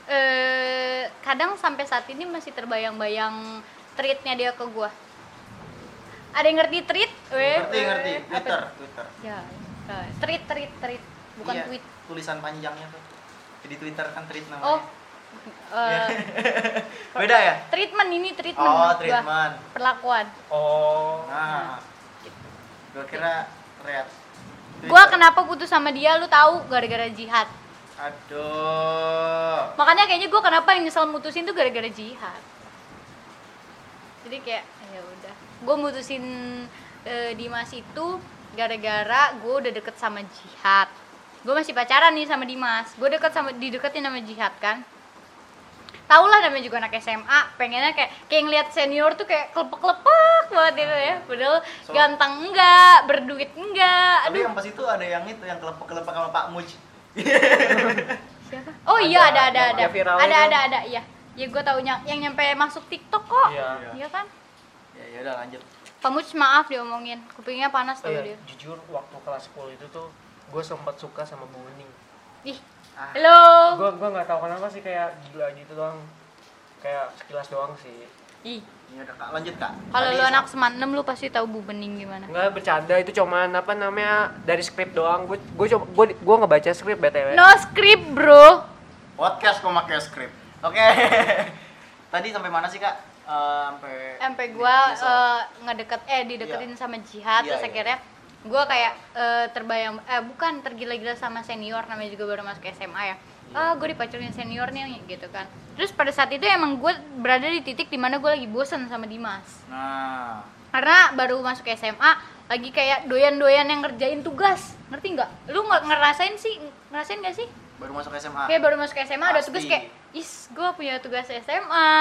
C: eh kadang sampai saat ini masih terbayang-bayang treatnya dia ke gua ada yang ngerti treat Weh,
A: Ngerti
C: weh.
A: ngerti.
C: Apa
A: Twitter
C: itu?
A: Twitter.
C: ya eh, treat treat treat bukan
A: Iya,
C: tweet
A: Tulisan panjangnya tuh. Jadi Twitter kan treat namanya.
C: Oh, eh,
A: Ya. Beda ya?
C: treatment ini treatment.
A: Oh,
C: menurut gua.
A: treatment.
C: Perlakuan.
D: oh
A: Nah. Gua kira red.
C: Gua
A: Twitter.
C: kenapa putus sama dia lu tahu gara-gara jihad.
A: Aduh.
C: Makanya kayaknya gua kenapa yang nyesel mutusin tuh gara-gara jihad. Jadi kayak ya udah. Gua mutusin eh, Dimas itu gara-gara gue udah deket sama jihad. Gue masih pacaran nih sama Dimas. Gue deket sama dideketin sama jihad kan. tau lah namanya juga anak SMA pengennya kayak kayak ngeliat senior tuh kayak kelepek-kelepek banget gitu ya padahal
A: So-
C: ganteng enggak berduit enggak
A: Tapi
C: aduh
A: yang pas itu ada yang itu yang kelepek-kelepek sama Pak Muj.
C: siapa oh iya ada ada
D: yang-
C: ada
D: yang viral
C: ada
D: itu.
C: ada ada iya ya gue taunya yang nyampe masuk TikTok kok
D: Iya.
A: Iya.
C: iya kan
A: Ya ya udah lanjut.
C: Pamuj maaf diomongin kupingnya panas
D: Oh
C: tuh
D: iya,
C: dia
D: jujur waktu kelas 10 itu tuh gue sempat suka sama Bu Wening.
C: ih
A: Ah,
C: halo
D: Gue Ah. gua nggak tahu kenapa sih kayak gila gitu doang. Kayak sekilas doang sih.
C: ih
A: Ya udah Kak, lanjut Kak.
C: kalau
A: Tadi
C: lu
A: sa-
C: anak semanem lu pasti tahu bu bening gimana
D: Enggak bercanda itu cuman apa namanya dari skrip doang. Gue gue coba gue gue ngebaca skrip BTW.
C: no script bro
A: podcast kok pakai skrip. Oke. Tadi sampai mana sih Kak? Eh, sampai
C: sampai gua
A: Nyesel.
C: eh, ngedeket eh dideketin sama jihad
A: Iya,
C: terus
A: iya.
C: akhirnya gua kayak eh, terbayang eh bukan tergila-gila sama senior namanya juga baru masuk SMA ya
A: Iya.
C: ah gue dipacarin senior nih gitu kan terus pada saat itu emang gue berada di titik dimana gue lagi bosen sama Dimas
A: Nah,
C: karena baru masuk SMA lagi kayak doyan-doyan yang ngerjain tugas ngerti nggak lu nggak ngerasain sih ngerasain nggak sih
A: baru masuk SMA.
C: kayak baru masuk SMA ada
A: Ah, Pasti.
C: tugas
A: Iya,
C: kayak is gue punya tugas SMA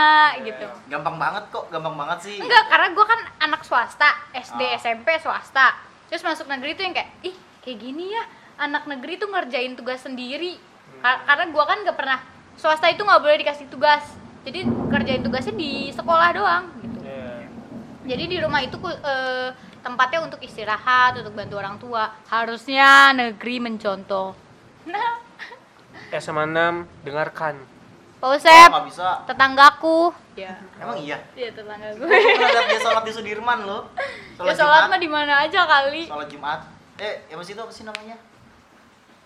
C: gitu
A: Gampang banget kok, gampang banget sih.
C: Enggak, karena gue kan anak swasta, SD,
A: Ah.
C: SMP swasta. Terus masuk negeri tuh yang kayak, ih kayak gini ya, anak negeri tuh ngerjain tugas sendiri.
A: Hmm.
C: Ka- Karena gue kan gak pernah, swasta itu nggak boleh dikasih tugas. Jadi kerjain tugasnya di sekolah doang gitu.
D: Iya.
C: Jadi di rumah itu ku- eh, tempatnya untuk istirahat, untuk bantu orang tua. Harusnya negeri mencontoh. Nah,
D: SMA 6 dengarkan.
C: Pak
A: Oh,
C: Usep,
A: nggak bisa.
C: tetanggaku. Ya,
A: Emang iya.
C: iya tetangga gue.
A: Pernah lihat dia sholat di Sudirman loh.
C: Ya sholat mah di mana aja kali.
A: sholat Jumat eh ya masih itu apa sih namanya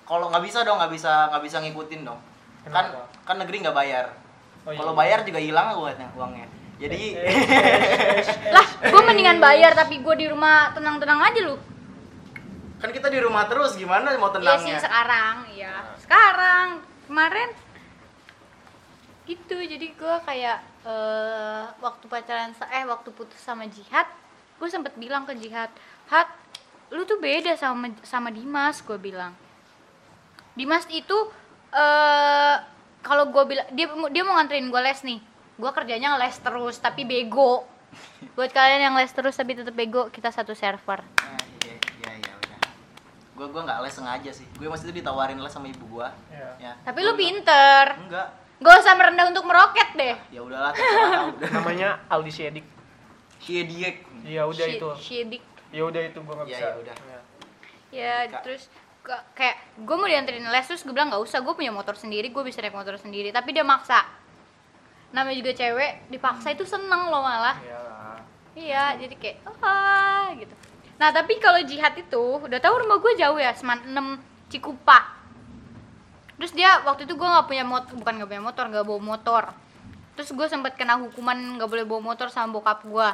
A: kalau nggak bisa dong nggak bisa nggak bisa ngikutin dong
D: Kenapa?
A: kan kan negeri nggak bayar
D: Oh, iya. Eh,
A: kalau bayar juga hilang uangnya uangnya jadi
C: lah gue mendingan bayar tapi gue di rumah tenang-tenang aja lu
A: kan kita di rumah terus gimana mau
C: iya sih
A: tenangnya
C: sekarang ya sekarang kemarin gitu jadi gue kayak eh, waktu pacaran sa- eh waktu putus sama Jihad gue sempet bilang ke Jihad Hat lu tuh beda sama sama Dimas gue bilang Dimas itu eh kalau gue bilang dia dia mau nganterin gue les nih gue kerjanya les terus tapi bego buat kalian yang les terus tapi tetap bego kita satu server
A: Nah, iya iya iya udah gue gue nggak les sengaja sih gue masih itu ditawarin les sama ibu gue
D: Iya.
A: ya
C: Tapi lu pinter.
A: enggak
C: Gak usah merendah untuk meroket deh.
A: ya udahlah terserah udah
D: Namanya Aldi Edik.
A: iya diek
D: Ya udah
C: Shi-
D: itu.
C: Shidik.
D: Ya udah itu gue nggak
A: Iya,
D: bisa.
A: ya udah.
D: Iya.
C: Ya,
A: Kak.
C: terus ke- kayak gue mau dianterin les terus gue bilang nggak usah gue punya motor sendiri gue bisa naik motor sendiri tapi dia maksa namanya juga cewek dipaksa itu seneng loh malah
D: Iya lah.
C: iya jadi kayak ah gitu nah tapi kalau jihad itu udah tahu rumah gue jauh ya seman 6 Cikupa terus dia waktu itu gue nggak punya motor bukan nggak punya motor nggak bawa motor terus gue sempat kena hukuman nggak boleh bawa motor sama bokap gue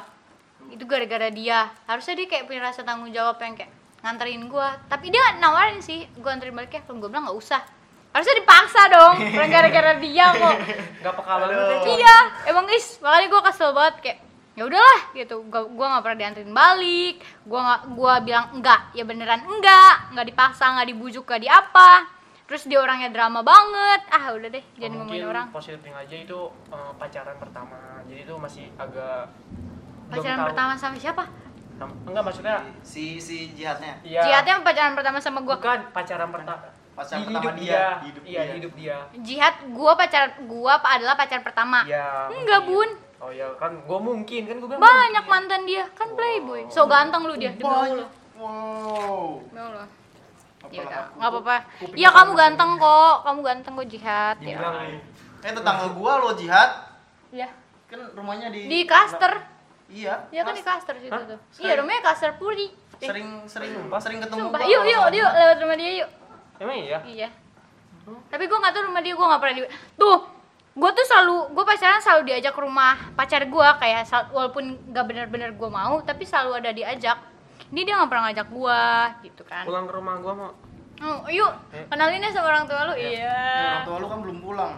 C: itu gara-gara dia harusnya dia kayak punya rasa tanggung jawab yang kayak nganterin gue tapi dia nawarin sih gue anterin balik ya kalau gue bilang nggak usah harusnya dipaksa dong orang gara-gara dia kok
D: Gak peka banget ya. Cok.
C: iya emang is makanya gue kesel banget kayak ya udahlah gitu gue gua nggak pernah dianterin balik gue nggak gua bilang enggak ya beneran enggak nggak dipaksa nggak dibujuk nggak di apa terus dia orangnya drama banget ah udah deh jangan
D: Mungkin
C: ngomongin orang
D: positifnya aja itu eh, pacaran pertama. Jadi itu masih agak belum
C: pacaran
D: tahu.
C: pertama sama siapa
D: Nam- Enggak maksudnya
A: si si jihadnya
D: iya.
C: jihadnya pacaran pertama sama gue
D: bukan pacaran pertama.
A: Pacaran
D: Di
A: pertama
D: hidup
A: dia, di hidup
D: Iya,
A: dia.
D: di hidup dia.
C: jihad gue pacar gue adalah pacar pertama
D: Iya.
C: enggak bun
D: mungkin. Oh
B: iya,
D: ya kan gue mungkin kan gue bilang.
C: banyak mantan dia kan playboy so ganteng lu dia demi Allah
A: wow
C: demi Allah ya udah
A: Apalah aku.
C: nggak apa-apa
D: kuping
C: iya kamu
D: panas.
C: ganteng kok kamu ganteng kok jihad
D: mungkin.
C: ya
D: Dibilang
A: eh tetangga gue lo jihad
C: Iya.
A: kan rumahnya di
C: Di cluster.
A: iya
C: Iya kan di cluster situ
D: Hah?
C: tuh.
D: Serius?
C: Iya, rumahnya cluster Puri.
A: sering sering
D: Sumpah.
A: sering ketemu
C: Sumpah,
A: gua
C: yuk
A: kalau
C: yuk
A: sama
C: yuk lewat rumah dia yuk.
D: emang iya.
C: Iya. Tapi gue nggak tahu rumah dia, gue nggak pernah di. Tuh, gue tuh selalu, gue pacaran selalu diajak ke rumah pacar gue kayak sal- walaupun nggak bener-bener gue mau, tapi selalu ada diajak. Ini dia nggak pernah ngajak gue, gitu kan.
D: Pulang ke rumah gue mau.
C: Oh, yuk, kenalin ya sama orang tua lu. Iya.
A: Eh, orang tua lu kan belum pulang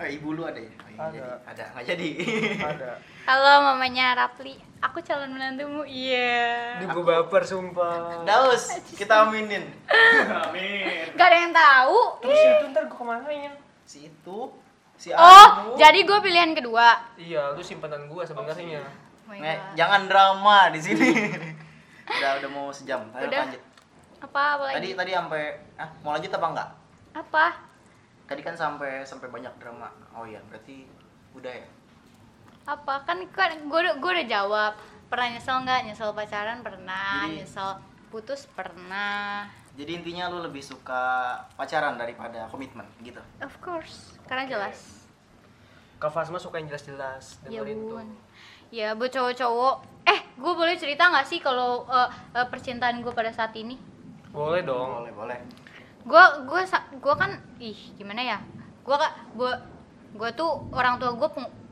A: eh ibu lu ada ya Oh, iya,
D: Ada.
A: jadi ada nggak jadi
D: Ada.
A: Iya.
C: Halo mamanya Rapli, aku calon menantumu. Iya.
D: Duh gue baper sumpah.
A: daus kita aminin Iya.
C: Gak ada yang tahu.
D: Terus itu ntar gue kemanain?
A: si itu Si
C: Oh, jadi gue pilihan kedua.
B: Iya, lu simpenan gua sebenarnya. iya.
C: Oh my
A: Nek,
C: God.
A: jangan drama di sini. udah udah mau sejam. Ayo
C: Udah.
A: lanjut.
C: Apa, apa
A: Tadi
C: lagi?
A: tadi sampai ah mau lanjut apa enggak?
C: Apa?
A: Tadi kan sampai sampai banyak drama. Oh iya, berarti udah ya.
C: Apa? Kan, kan gue gue udah jawab. Pernah nyesel nggak? Nyesel pacaran pernah.
A: Jadi-
C: Nyesel putus pernah.
A: Jadi intinya lu lebih suka pacaran daripada komitmen gitu.
C: Of course, karena jelas.
B: Kak Fasma suka yang jelas-jelas
C: Ya
B: dengerin tuh.
C: bun. Ya buat cowok-cowok. Eh, gue boleh cerita nggak sih kalau eh, eh, percintaan gue pada saat ini?
B: Boleh dong.
A: Boleh, boleh.
C: Gue gue gue kan ih gimana ya? Gue kak gue gue tuh orang tua gue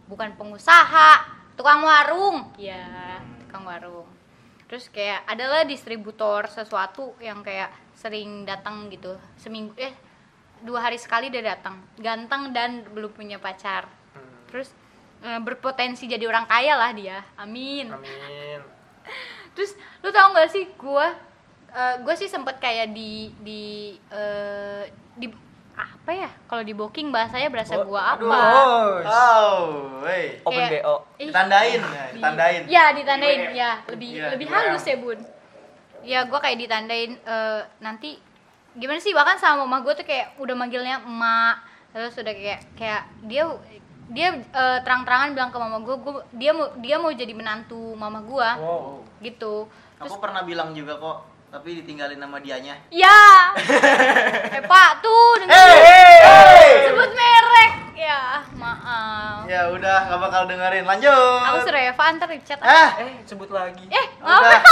C: bukan pengusaha, tukang warung. Ya, tukang warung. Terus kayak adalah distributor sesuatu yang kayak sering datang gitu seminggu eh dua hari sekali dia datang ganteng dan belum punya pacar
B: Hmm,
C: terus eh, berpotensi jadi orang kaya lah dia amin
B: Amin.
C: terus lu tau gak sih gue gue sih sempet kayak di di eh, di apa ya kalau di booking bahasanya
B: Oh,
C: berasa gue apa
B: aduh. Oh,
A: Oh, hey.
B: Open
C: Kayak-
B: BO.
C: Ih,
A: Ditandain, ya,
C: di-
A: ditandain.
C: ya ditandain
A: Di WM.
C: ya lebih
A: Iya,
C: lebih
A: di WM.
C: halus ya bun ya gue kayak ditandain eh, nanti gimana sih bahkan sama mama gue tuh kayak udah manggilnya emak terus udah kayak kayak dia dia eh, terang-terangan bilang ke mama gue dia mau dia mau jadi menantu mama gue
B: Wow.
C: gitu terus
A: Aku pernah bilang juga kok, tapi ditinggalin sama dianya.
C: ya eh pak tuh dengerin. sebut merek ya maaf
A: Ya udah, nggak bakal dengerin. Lanjut.
C: aku suruh Eva antar di chat
A: Ah,
B: Eh, sebut lagi.
C: eh maaf
A: udah.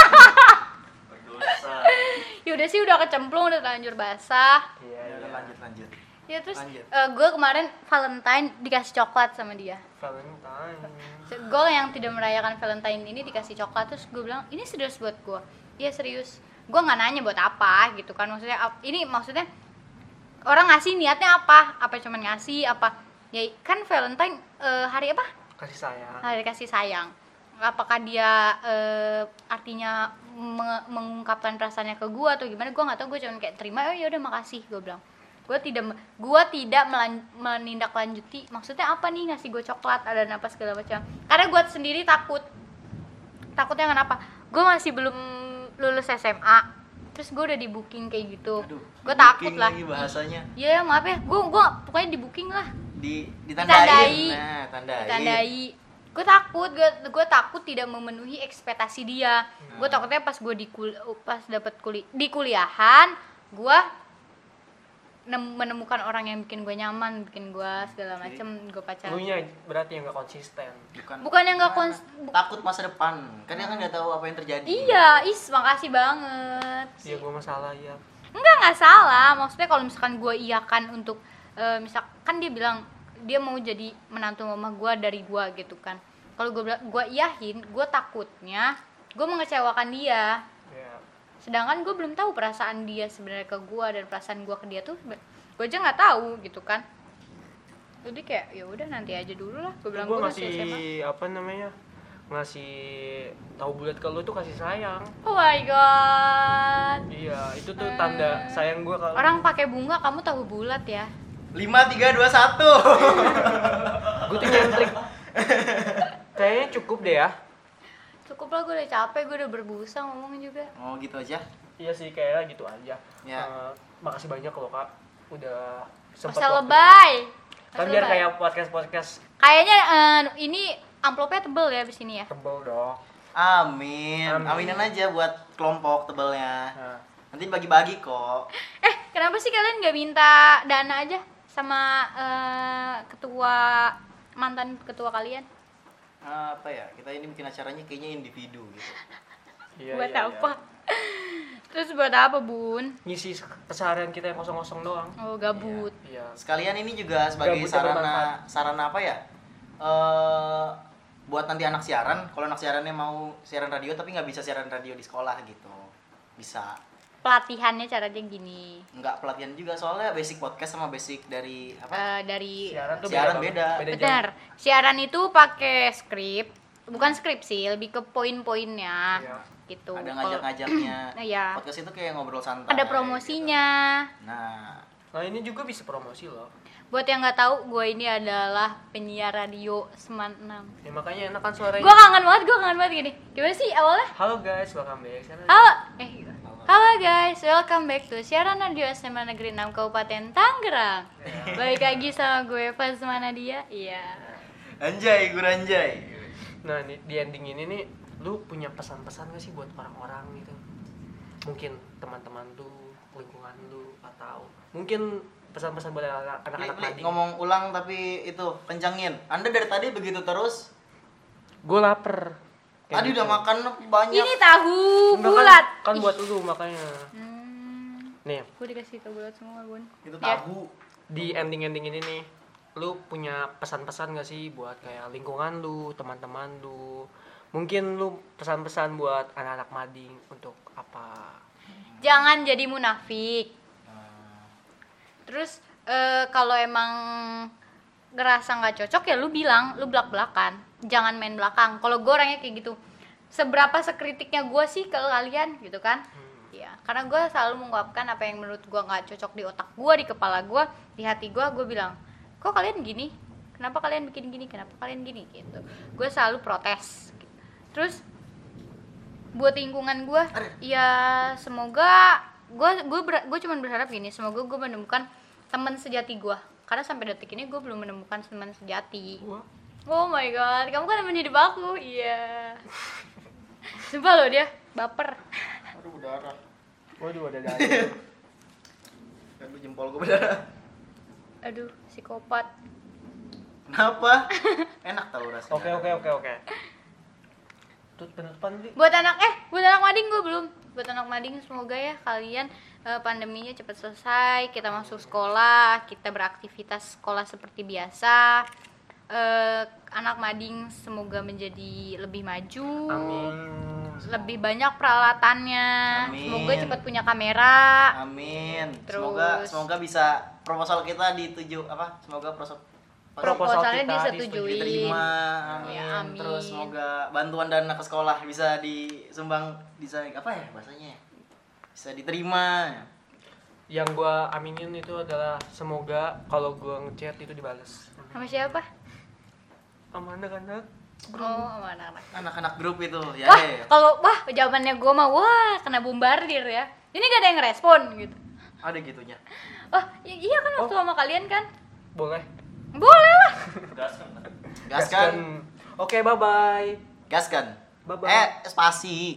C: ya udah sih udah kecemplung udah terlanjur basah
B: Iya,
A: Ya
B: iya.
A: udah, lanjut lanjut.
C: ya terus
A: Lanjut.
C: gue kemarin Valentine dikasih coklat sama dia
B: Valentine.
C: gue yang tidak merayakan Valentine ini dikasih coklat terus gue bilang ini serius buat gue iya serius gue nggak nanya buat apa gitu kan maksudnya ap- ini maksudnya orang ngasih niatnya apa apa cuman ngasih apa ya kan Valentine eh, hari apa
B: Kasih sayang.
C: hari kasih Nah, sayang apakah dia eh, artinya menge- mengungkapkan perasaannya ke gua atau gimana gua nggak tahu gua cuman kayak terima oh ya udah makasih gua bilang gua tidak me- gua tidak melan- menindaklanjuti maksudnya apa nih ngasih gua coklat ada apa segala macam karena gua sendiri takut takutnya kenapa gua masih belum lulus SMA terus gua udah di booking kayak gitu
A: Aduh, booking
C: gua takut lah
A: Lagi bahasanya
C: Iya maaf ya gua gua pokoknya di booking lah
A: di ditandain.
C: Ditandai.
A: Nah, tandain.
C: ditandai gue takut gue takut tidak memenuhi ekspektasi dia gue takutnya pas gue di kul- pas dapat kuli di kuliahan gue menemukan orang yang bikin gue nyaman bikin gue segala
A: Jadi,
C: macem gue pacaran
B: Lunya berarti yang gak konsisten.
A: Bukan,
C: Bukan yang nggak
A: gimana?
C: kons- bu-
A: takut masa depan. Kan dia kan nggak tahu apa yang terjadi.
C: iya is makasih banget
B: Iya, gua masalah ya.
C: enggak nggak salah maksudnya kalau misalkan gue iakan untuk eh, misalkan dia bilang dia mau jadi menantu mama gue dari gue gitu kan kalau gue gue iahin gue takutnya gue mengecewakan dia
B: Iya.
C: sedangkan gue belum tahu perasaan dia sebenarnya ke gue dan perasaan gue ke dia tuh gue aja nggak tahu gitu kan jadi kayak ya udah nanti aja dulu lah gue
B: Gua
C: bilang gue masih
B: ngasih
C: SMA
B: apa namanya? Ngasih tahu bulat ke lu tuh kasih sayang.
C: oh my god
B: Iya, itu tuh tanda sayang gua kalau
C: orang pakai bunga kamu tahu bulat ya
A: Lima tiga dua satu.
B: Gue tuh nyentrik. Kayaknya cukup deh ya.
C: cukup lah gue udah capek gue udah berbusa ngomong juga
A: Oh gitu aja.
B: Iya sih kayaknya gitu aja.
A: Ya.
B: Eh, makasih banyak loh kak, udah sempat
C: Masa lebay.
B: Kan
C: Masa
B: biar
C: lebay.
B: kayak podcast podcast
C: kayaknya eh, ini amplopnya tebel ya abis ini ya.
B: tebel dong.
A: Amin.
B: Amin.
A: Aminan aja buat kelompok tebelnya.
B: Nah,
A: Nanti bagi-bagi kok.
C: Eh, kenapa sih kalian nggak minta dana aja sama eh, ketua mantan ketua kalian?
A: Ah, apa ya? Kita ini bikin acaranya kayaknya individu gitu.
B: iya,
C: buat
B: iya,
C: apa?
B: iya.
C: Terus buat apa, Bun?
B: Ngisi keseharian kita yang kosong-kosong doang.
C: Oh, gabut.
B: Iya.
A: Sekalian ini juga sebagai
B: Gabutnya
A: sarana
B: bermanfaat.
A: sarana apa ya? Eh buat nanti anak siaran, kalau anak siarannya mau siaran radio tapi nggak bisa siaran radio di sekolah gitu. Bisa.
C: Pelatihannya caranya gini.
A: Nggak pelatihan juga soalnya basic podcast sama basic dari apa?
C: Eh, dari
B: Siaran tuh
A: Siaran
B: beda.
A: beda.
B: banget. beda jam.
C: Benar. Siaran itu pakai skrip, bukan skrip sih, lebih ke poin-poinnya.
B: Iya.
C: Gitu.
A: Ada
C: Kalau-
A: ngajak-ngajaknya.
C: Iya.
A: Podcast itu kayak ngobrol santai.
C: Ada
A: gitu.
C: promosinya.
A: Nah,
B: Nah ini juga bisa promosi loh.
C: Buat yang nggak tahu, gue ini adalah penyiar radio Seman 6.
B: Ya, makanya enak kan suaranya.
C: Gue kangen banget, gue kangen banget gini. Gimana sih awalnya?
B: Halo guys, welcome back. Sana.
C: Halo, eh, halo guys, welcome back to siaran radio SMA Negeri 6 Kabupaten Tangerang. Balik lagi sama gue Fazma Nadia. Iya.
A: Anjay, gue anjay.
B: Nah, di, di ending ini nih lu punya pesan-pesan gak sih buat orang-orang gitu? Mungkin teman-teman lu, lingkungan lu atau mungkin pesan-pesan buat anak-
A: Li-
B: anak-anak
A: Li,
B: tadi.
A: ngomong ulang tapi itu kencangin. Anda dari tadi begitu terus.
B: Gue lapar. Kayak
A: Tadi
B: gitu.
A: udah makan banyak.
C: Ini tahu
B: Enggak, kan-
C: bulat.
B: Kan, buat lu makanya.
C: Hmm,
B: Nih,
C: gue dikasih tahu bulat semua, Bun.
A: Itu
C: Ya.
A: tahu.
B: di ending-ending ini nih lu punya pesan-pesan gak sih buat kayak lingkungan lu, teman-teman lu? Mungkin lu pesan-pesan buat anak-anak mading untuk apa?
C: Jangan jadi munafik. Terus eh, kalau emang ngerasa nggak cocok ya lu bilang, lu belak-belakan. Jangan main belakang. Kalau gue orangnya kayak gitu. Seberapa sekritiknya gue sih ke kalian gitu kan? Iya, karena gue selalu mengungkapkan apa yang menurut gue nggak cocok di otak gue, di kepala gue, di hati gue, gue bilang, kok kalian gini? Kenapa kalian bikin gini? Kenapa kalian gini? Gitu. Gue selalu protes. Terus buat lingkungan gue ya semoga gue gue gue cuman berharap gini semoga gue menemukan teman sejati gue karena sampai detik ini gue belum menemukan teman sejati
B: Gua
C: oh my god kamu kan teman hidup aku iya sumpah loh dia baper
A: Aduh berdarah.
B: Waduh ada ada.
A: Aduh jempol gue berdarah.
C: aduh psikopat
A: Kenapa? Enak tahu rasanya.
B: Oke oke oke oke. Tut penutupan Li.
C: buat anak eh buat anak mading gue belum buat anak mading semoga ya kalian eh, pandeminya cepat selesai kita masuk sekolah kita beraktivitas sekolah seperti biasa Eh, anak mading semoga menjadi lebih maju
B: Amin.
C: lebih banyak peralatannya
A: Amin.
C: semoga cepat punya kamera
A: Amin.
C: Terus.
A: Semoga semoga bisa proposal kita dituju apa? Semoga proposal
B: Proposal
C: proposalnya
B: kita
C: disetujui
A: diterima. Amin.
C: Ya, amin.
A: Terus semoga bantuan dana ke sekolah bisa disumbang bisa apa ya bahasanya? ya? Bisa diterima.
B: Yang gua aminin itu adalah semoga kalau gua ngechat itu dibales.
C: sama siapa
B: Sama anak-anak.
C: oh sama anak-anak
A: Anak-anak grup itu ya.
C: wah
A: ya.
C: kalau wah jawabannya gue mah wah kena bombardir ya ini gak ada yang respon gitu
A: Ada gitunya.
C: oh i- iya kan waktu sama kalian kan
B: Boleh.
C: boleh lah
A: Gaskan.
B: Oke, bye bye.
A: Gaskan.
B: Bye-bye.
A: Eh, spasi.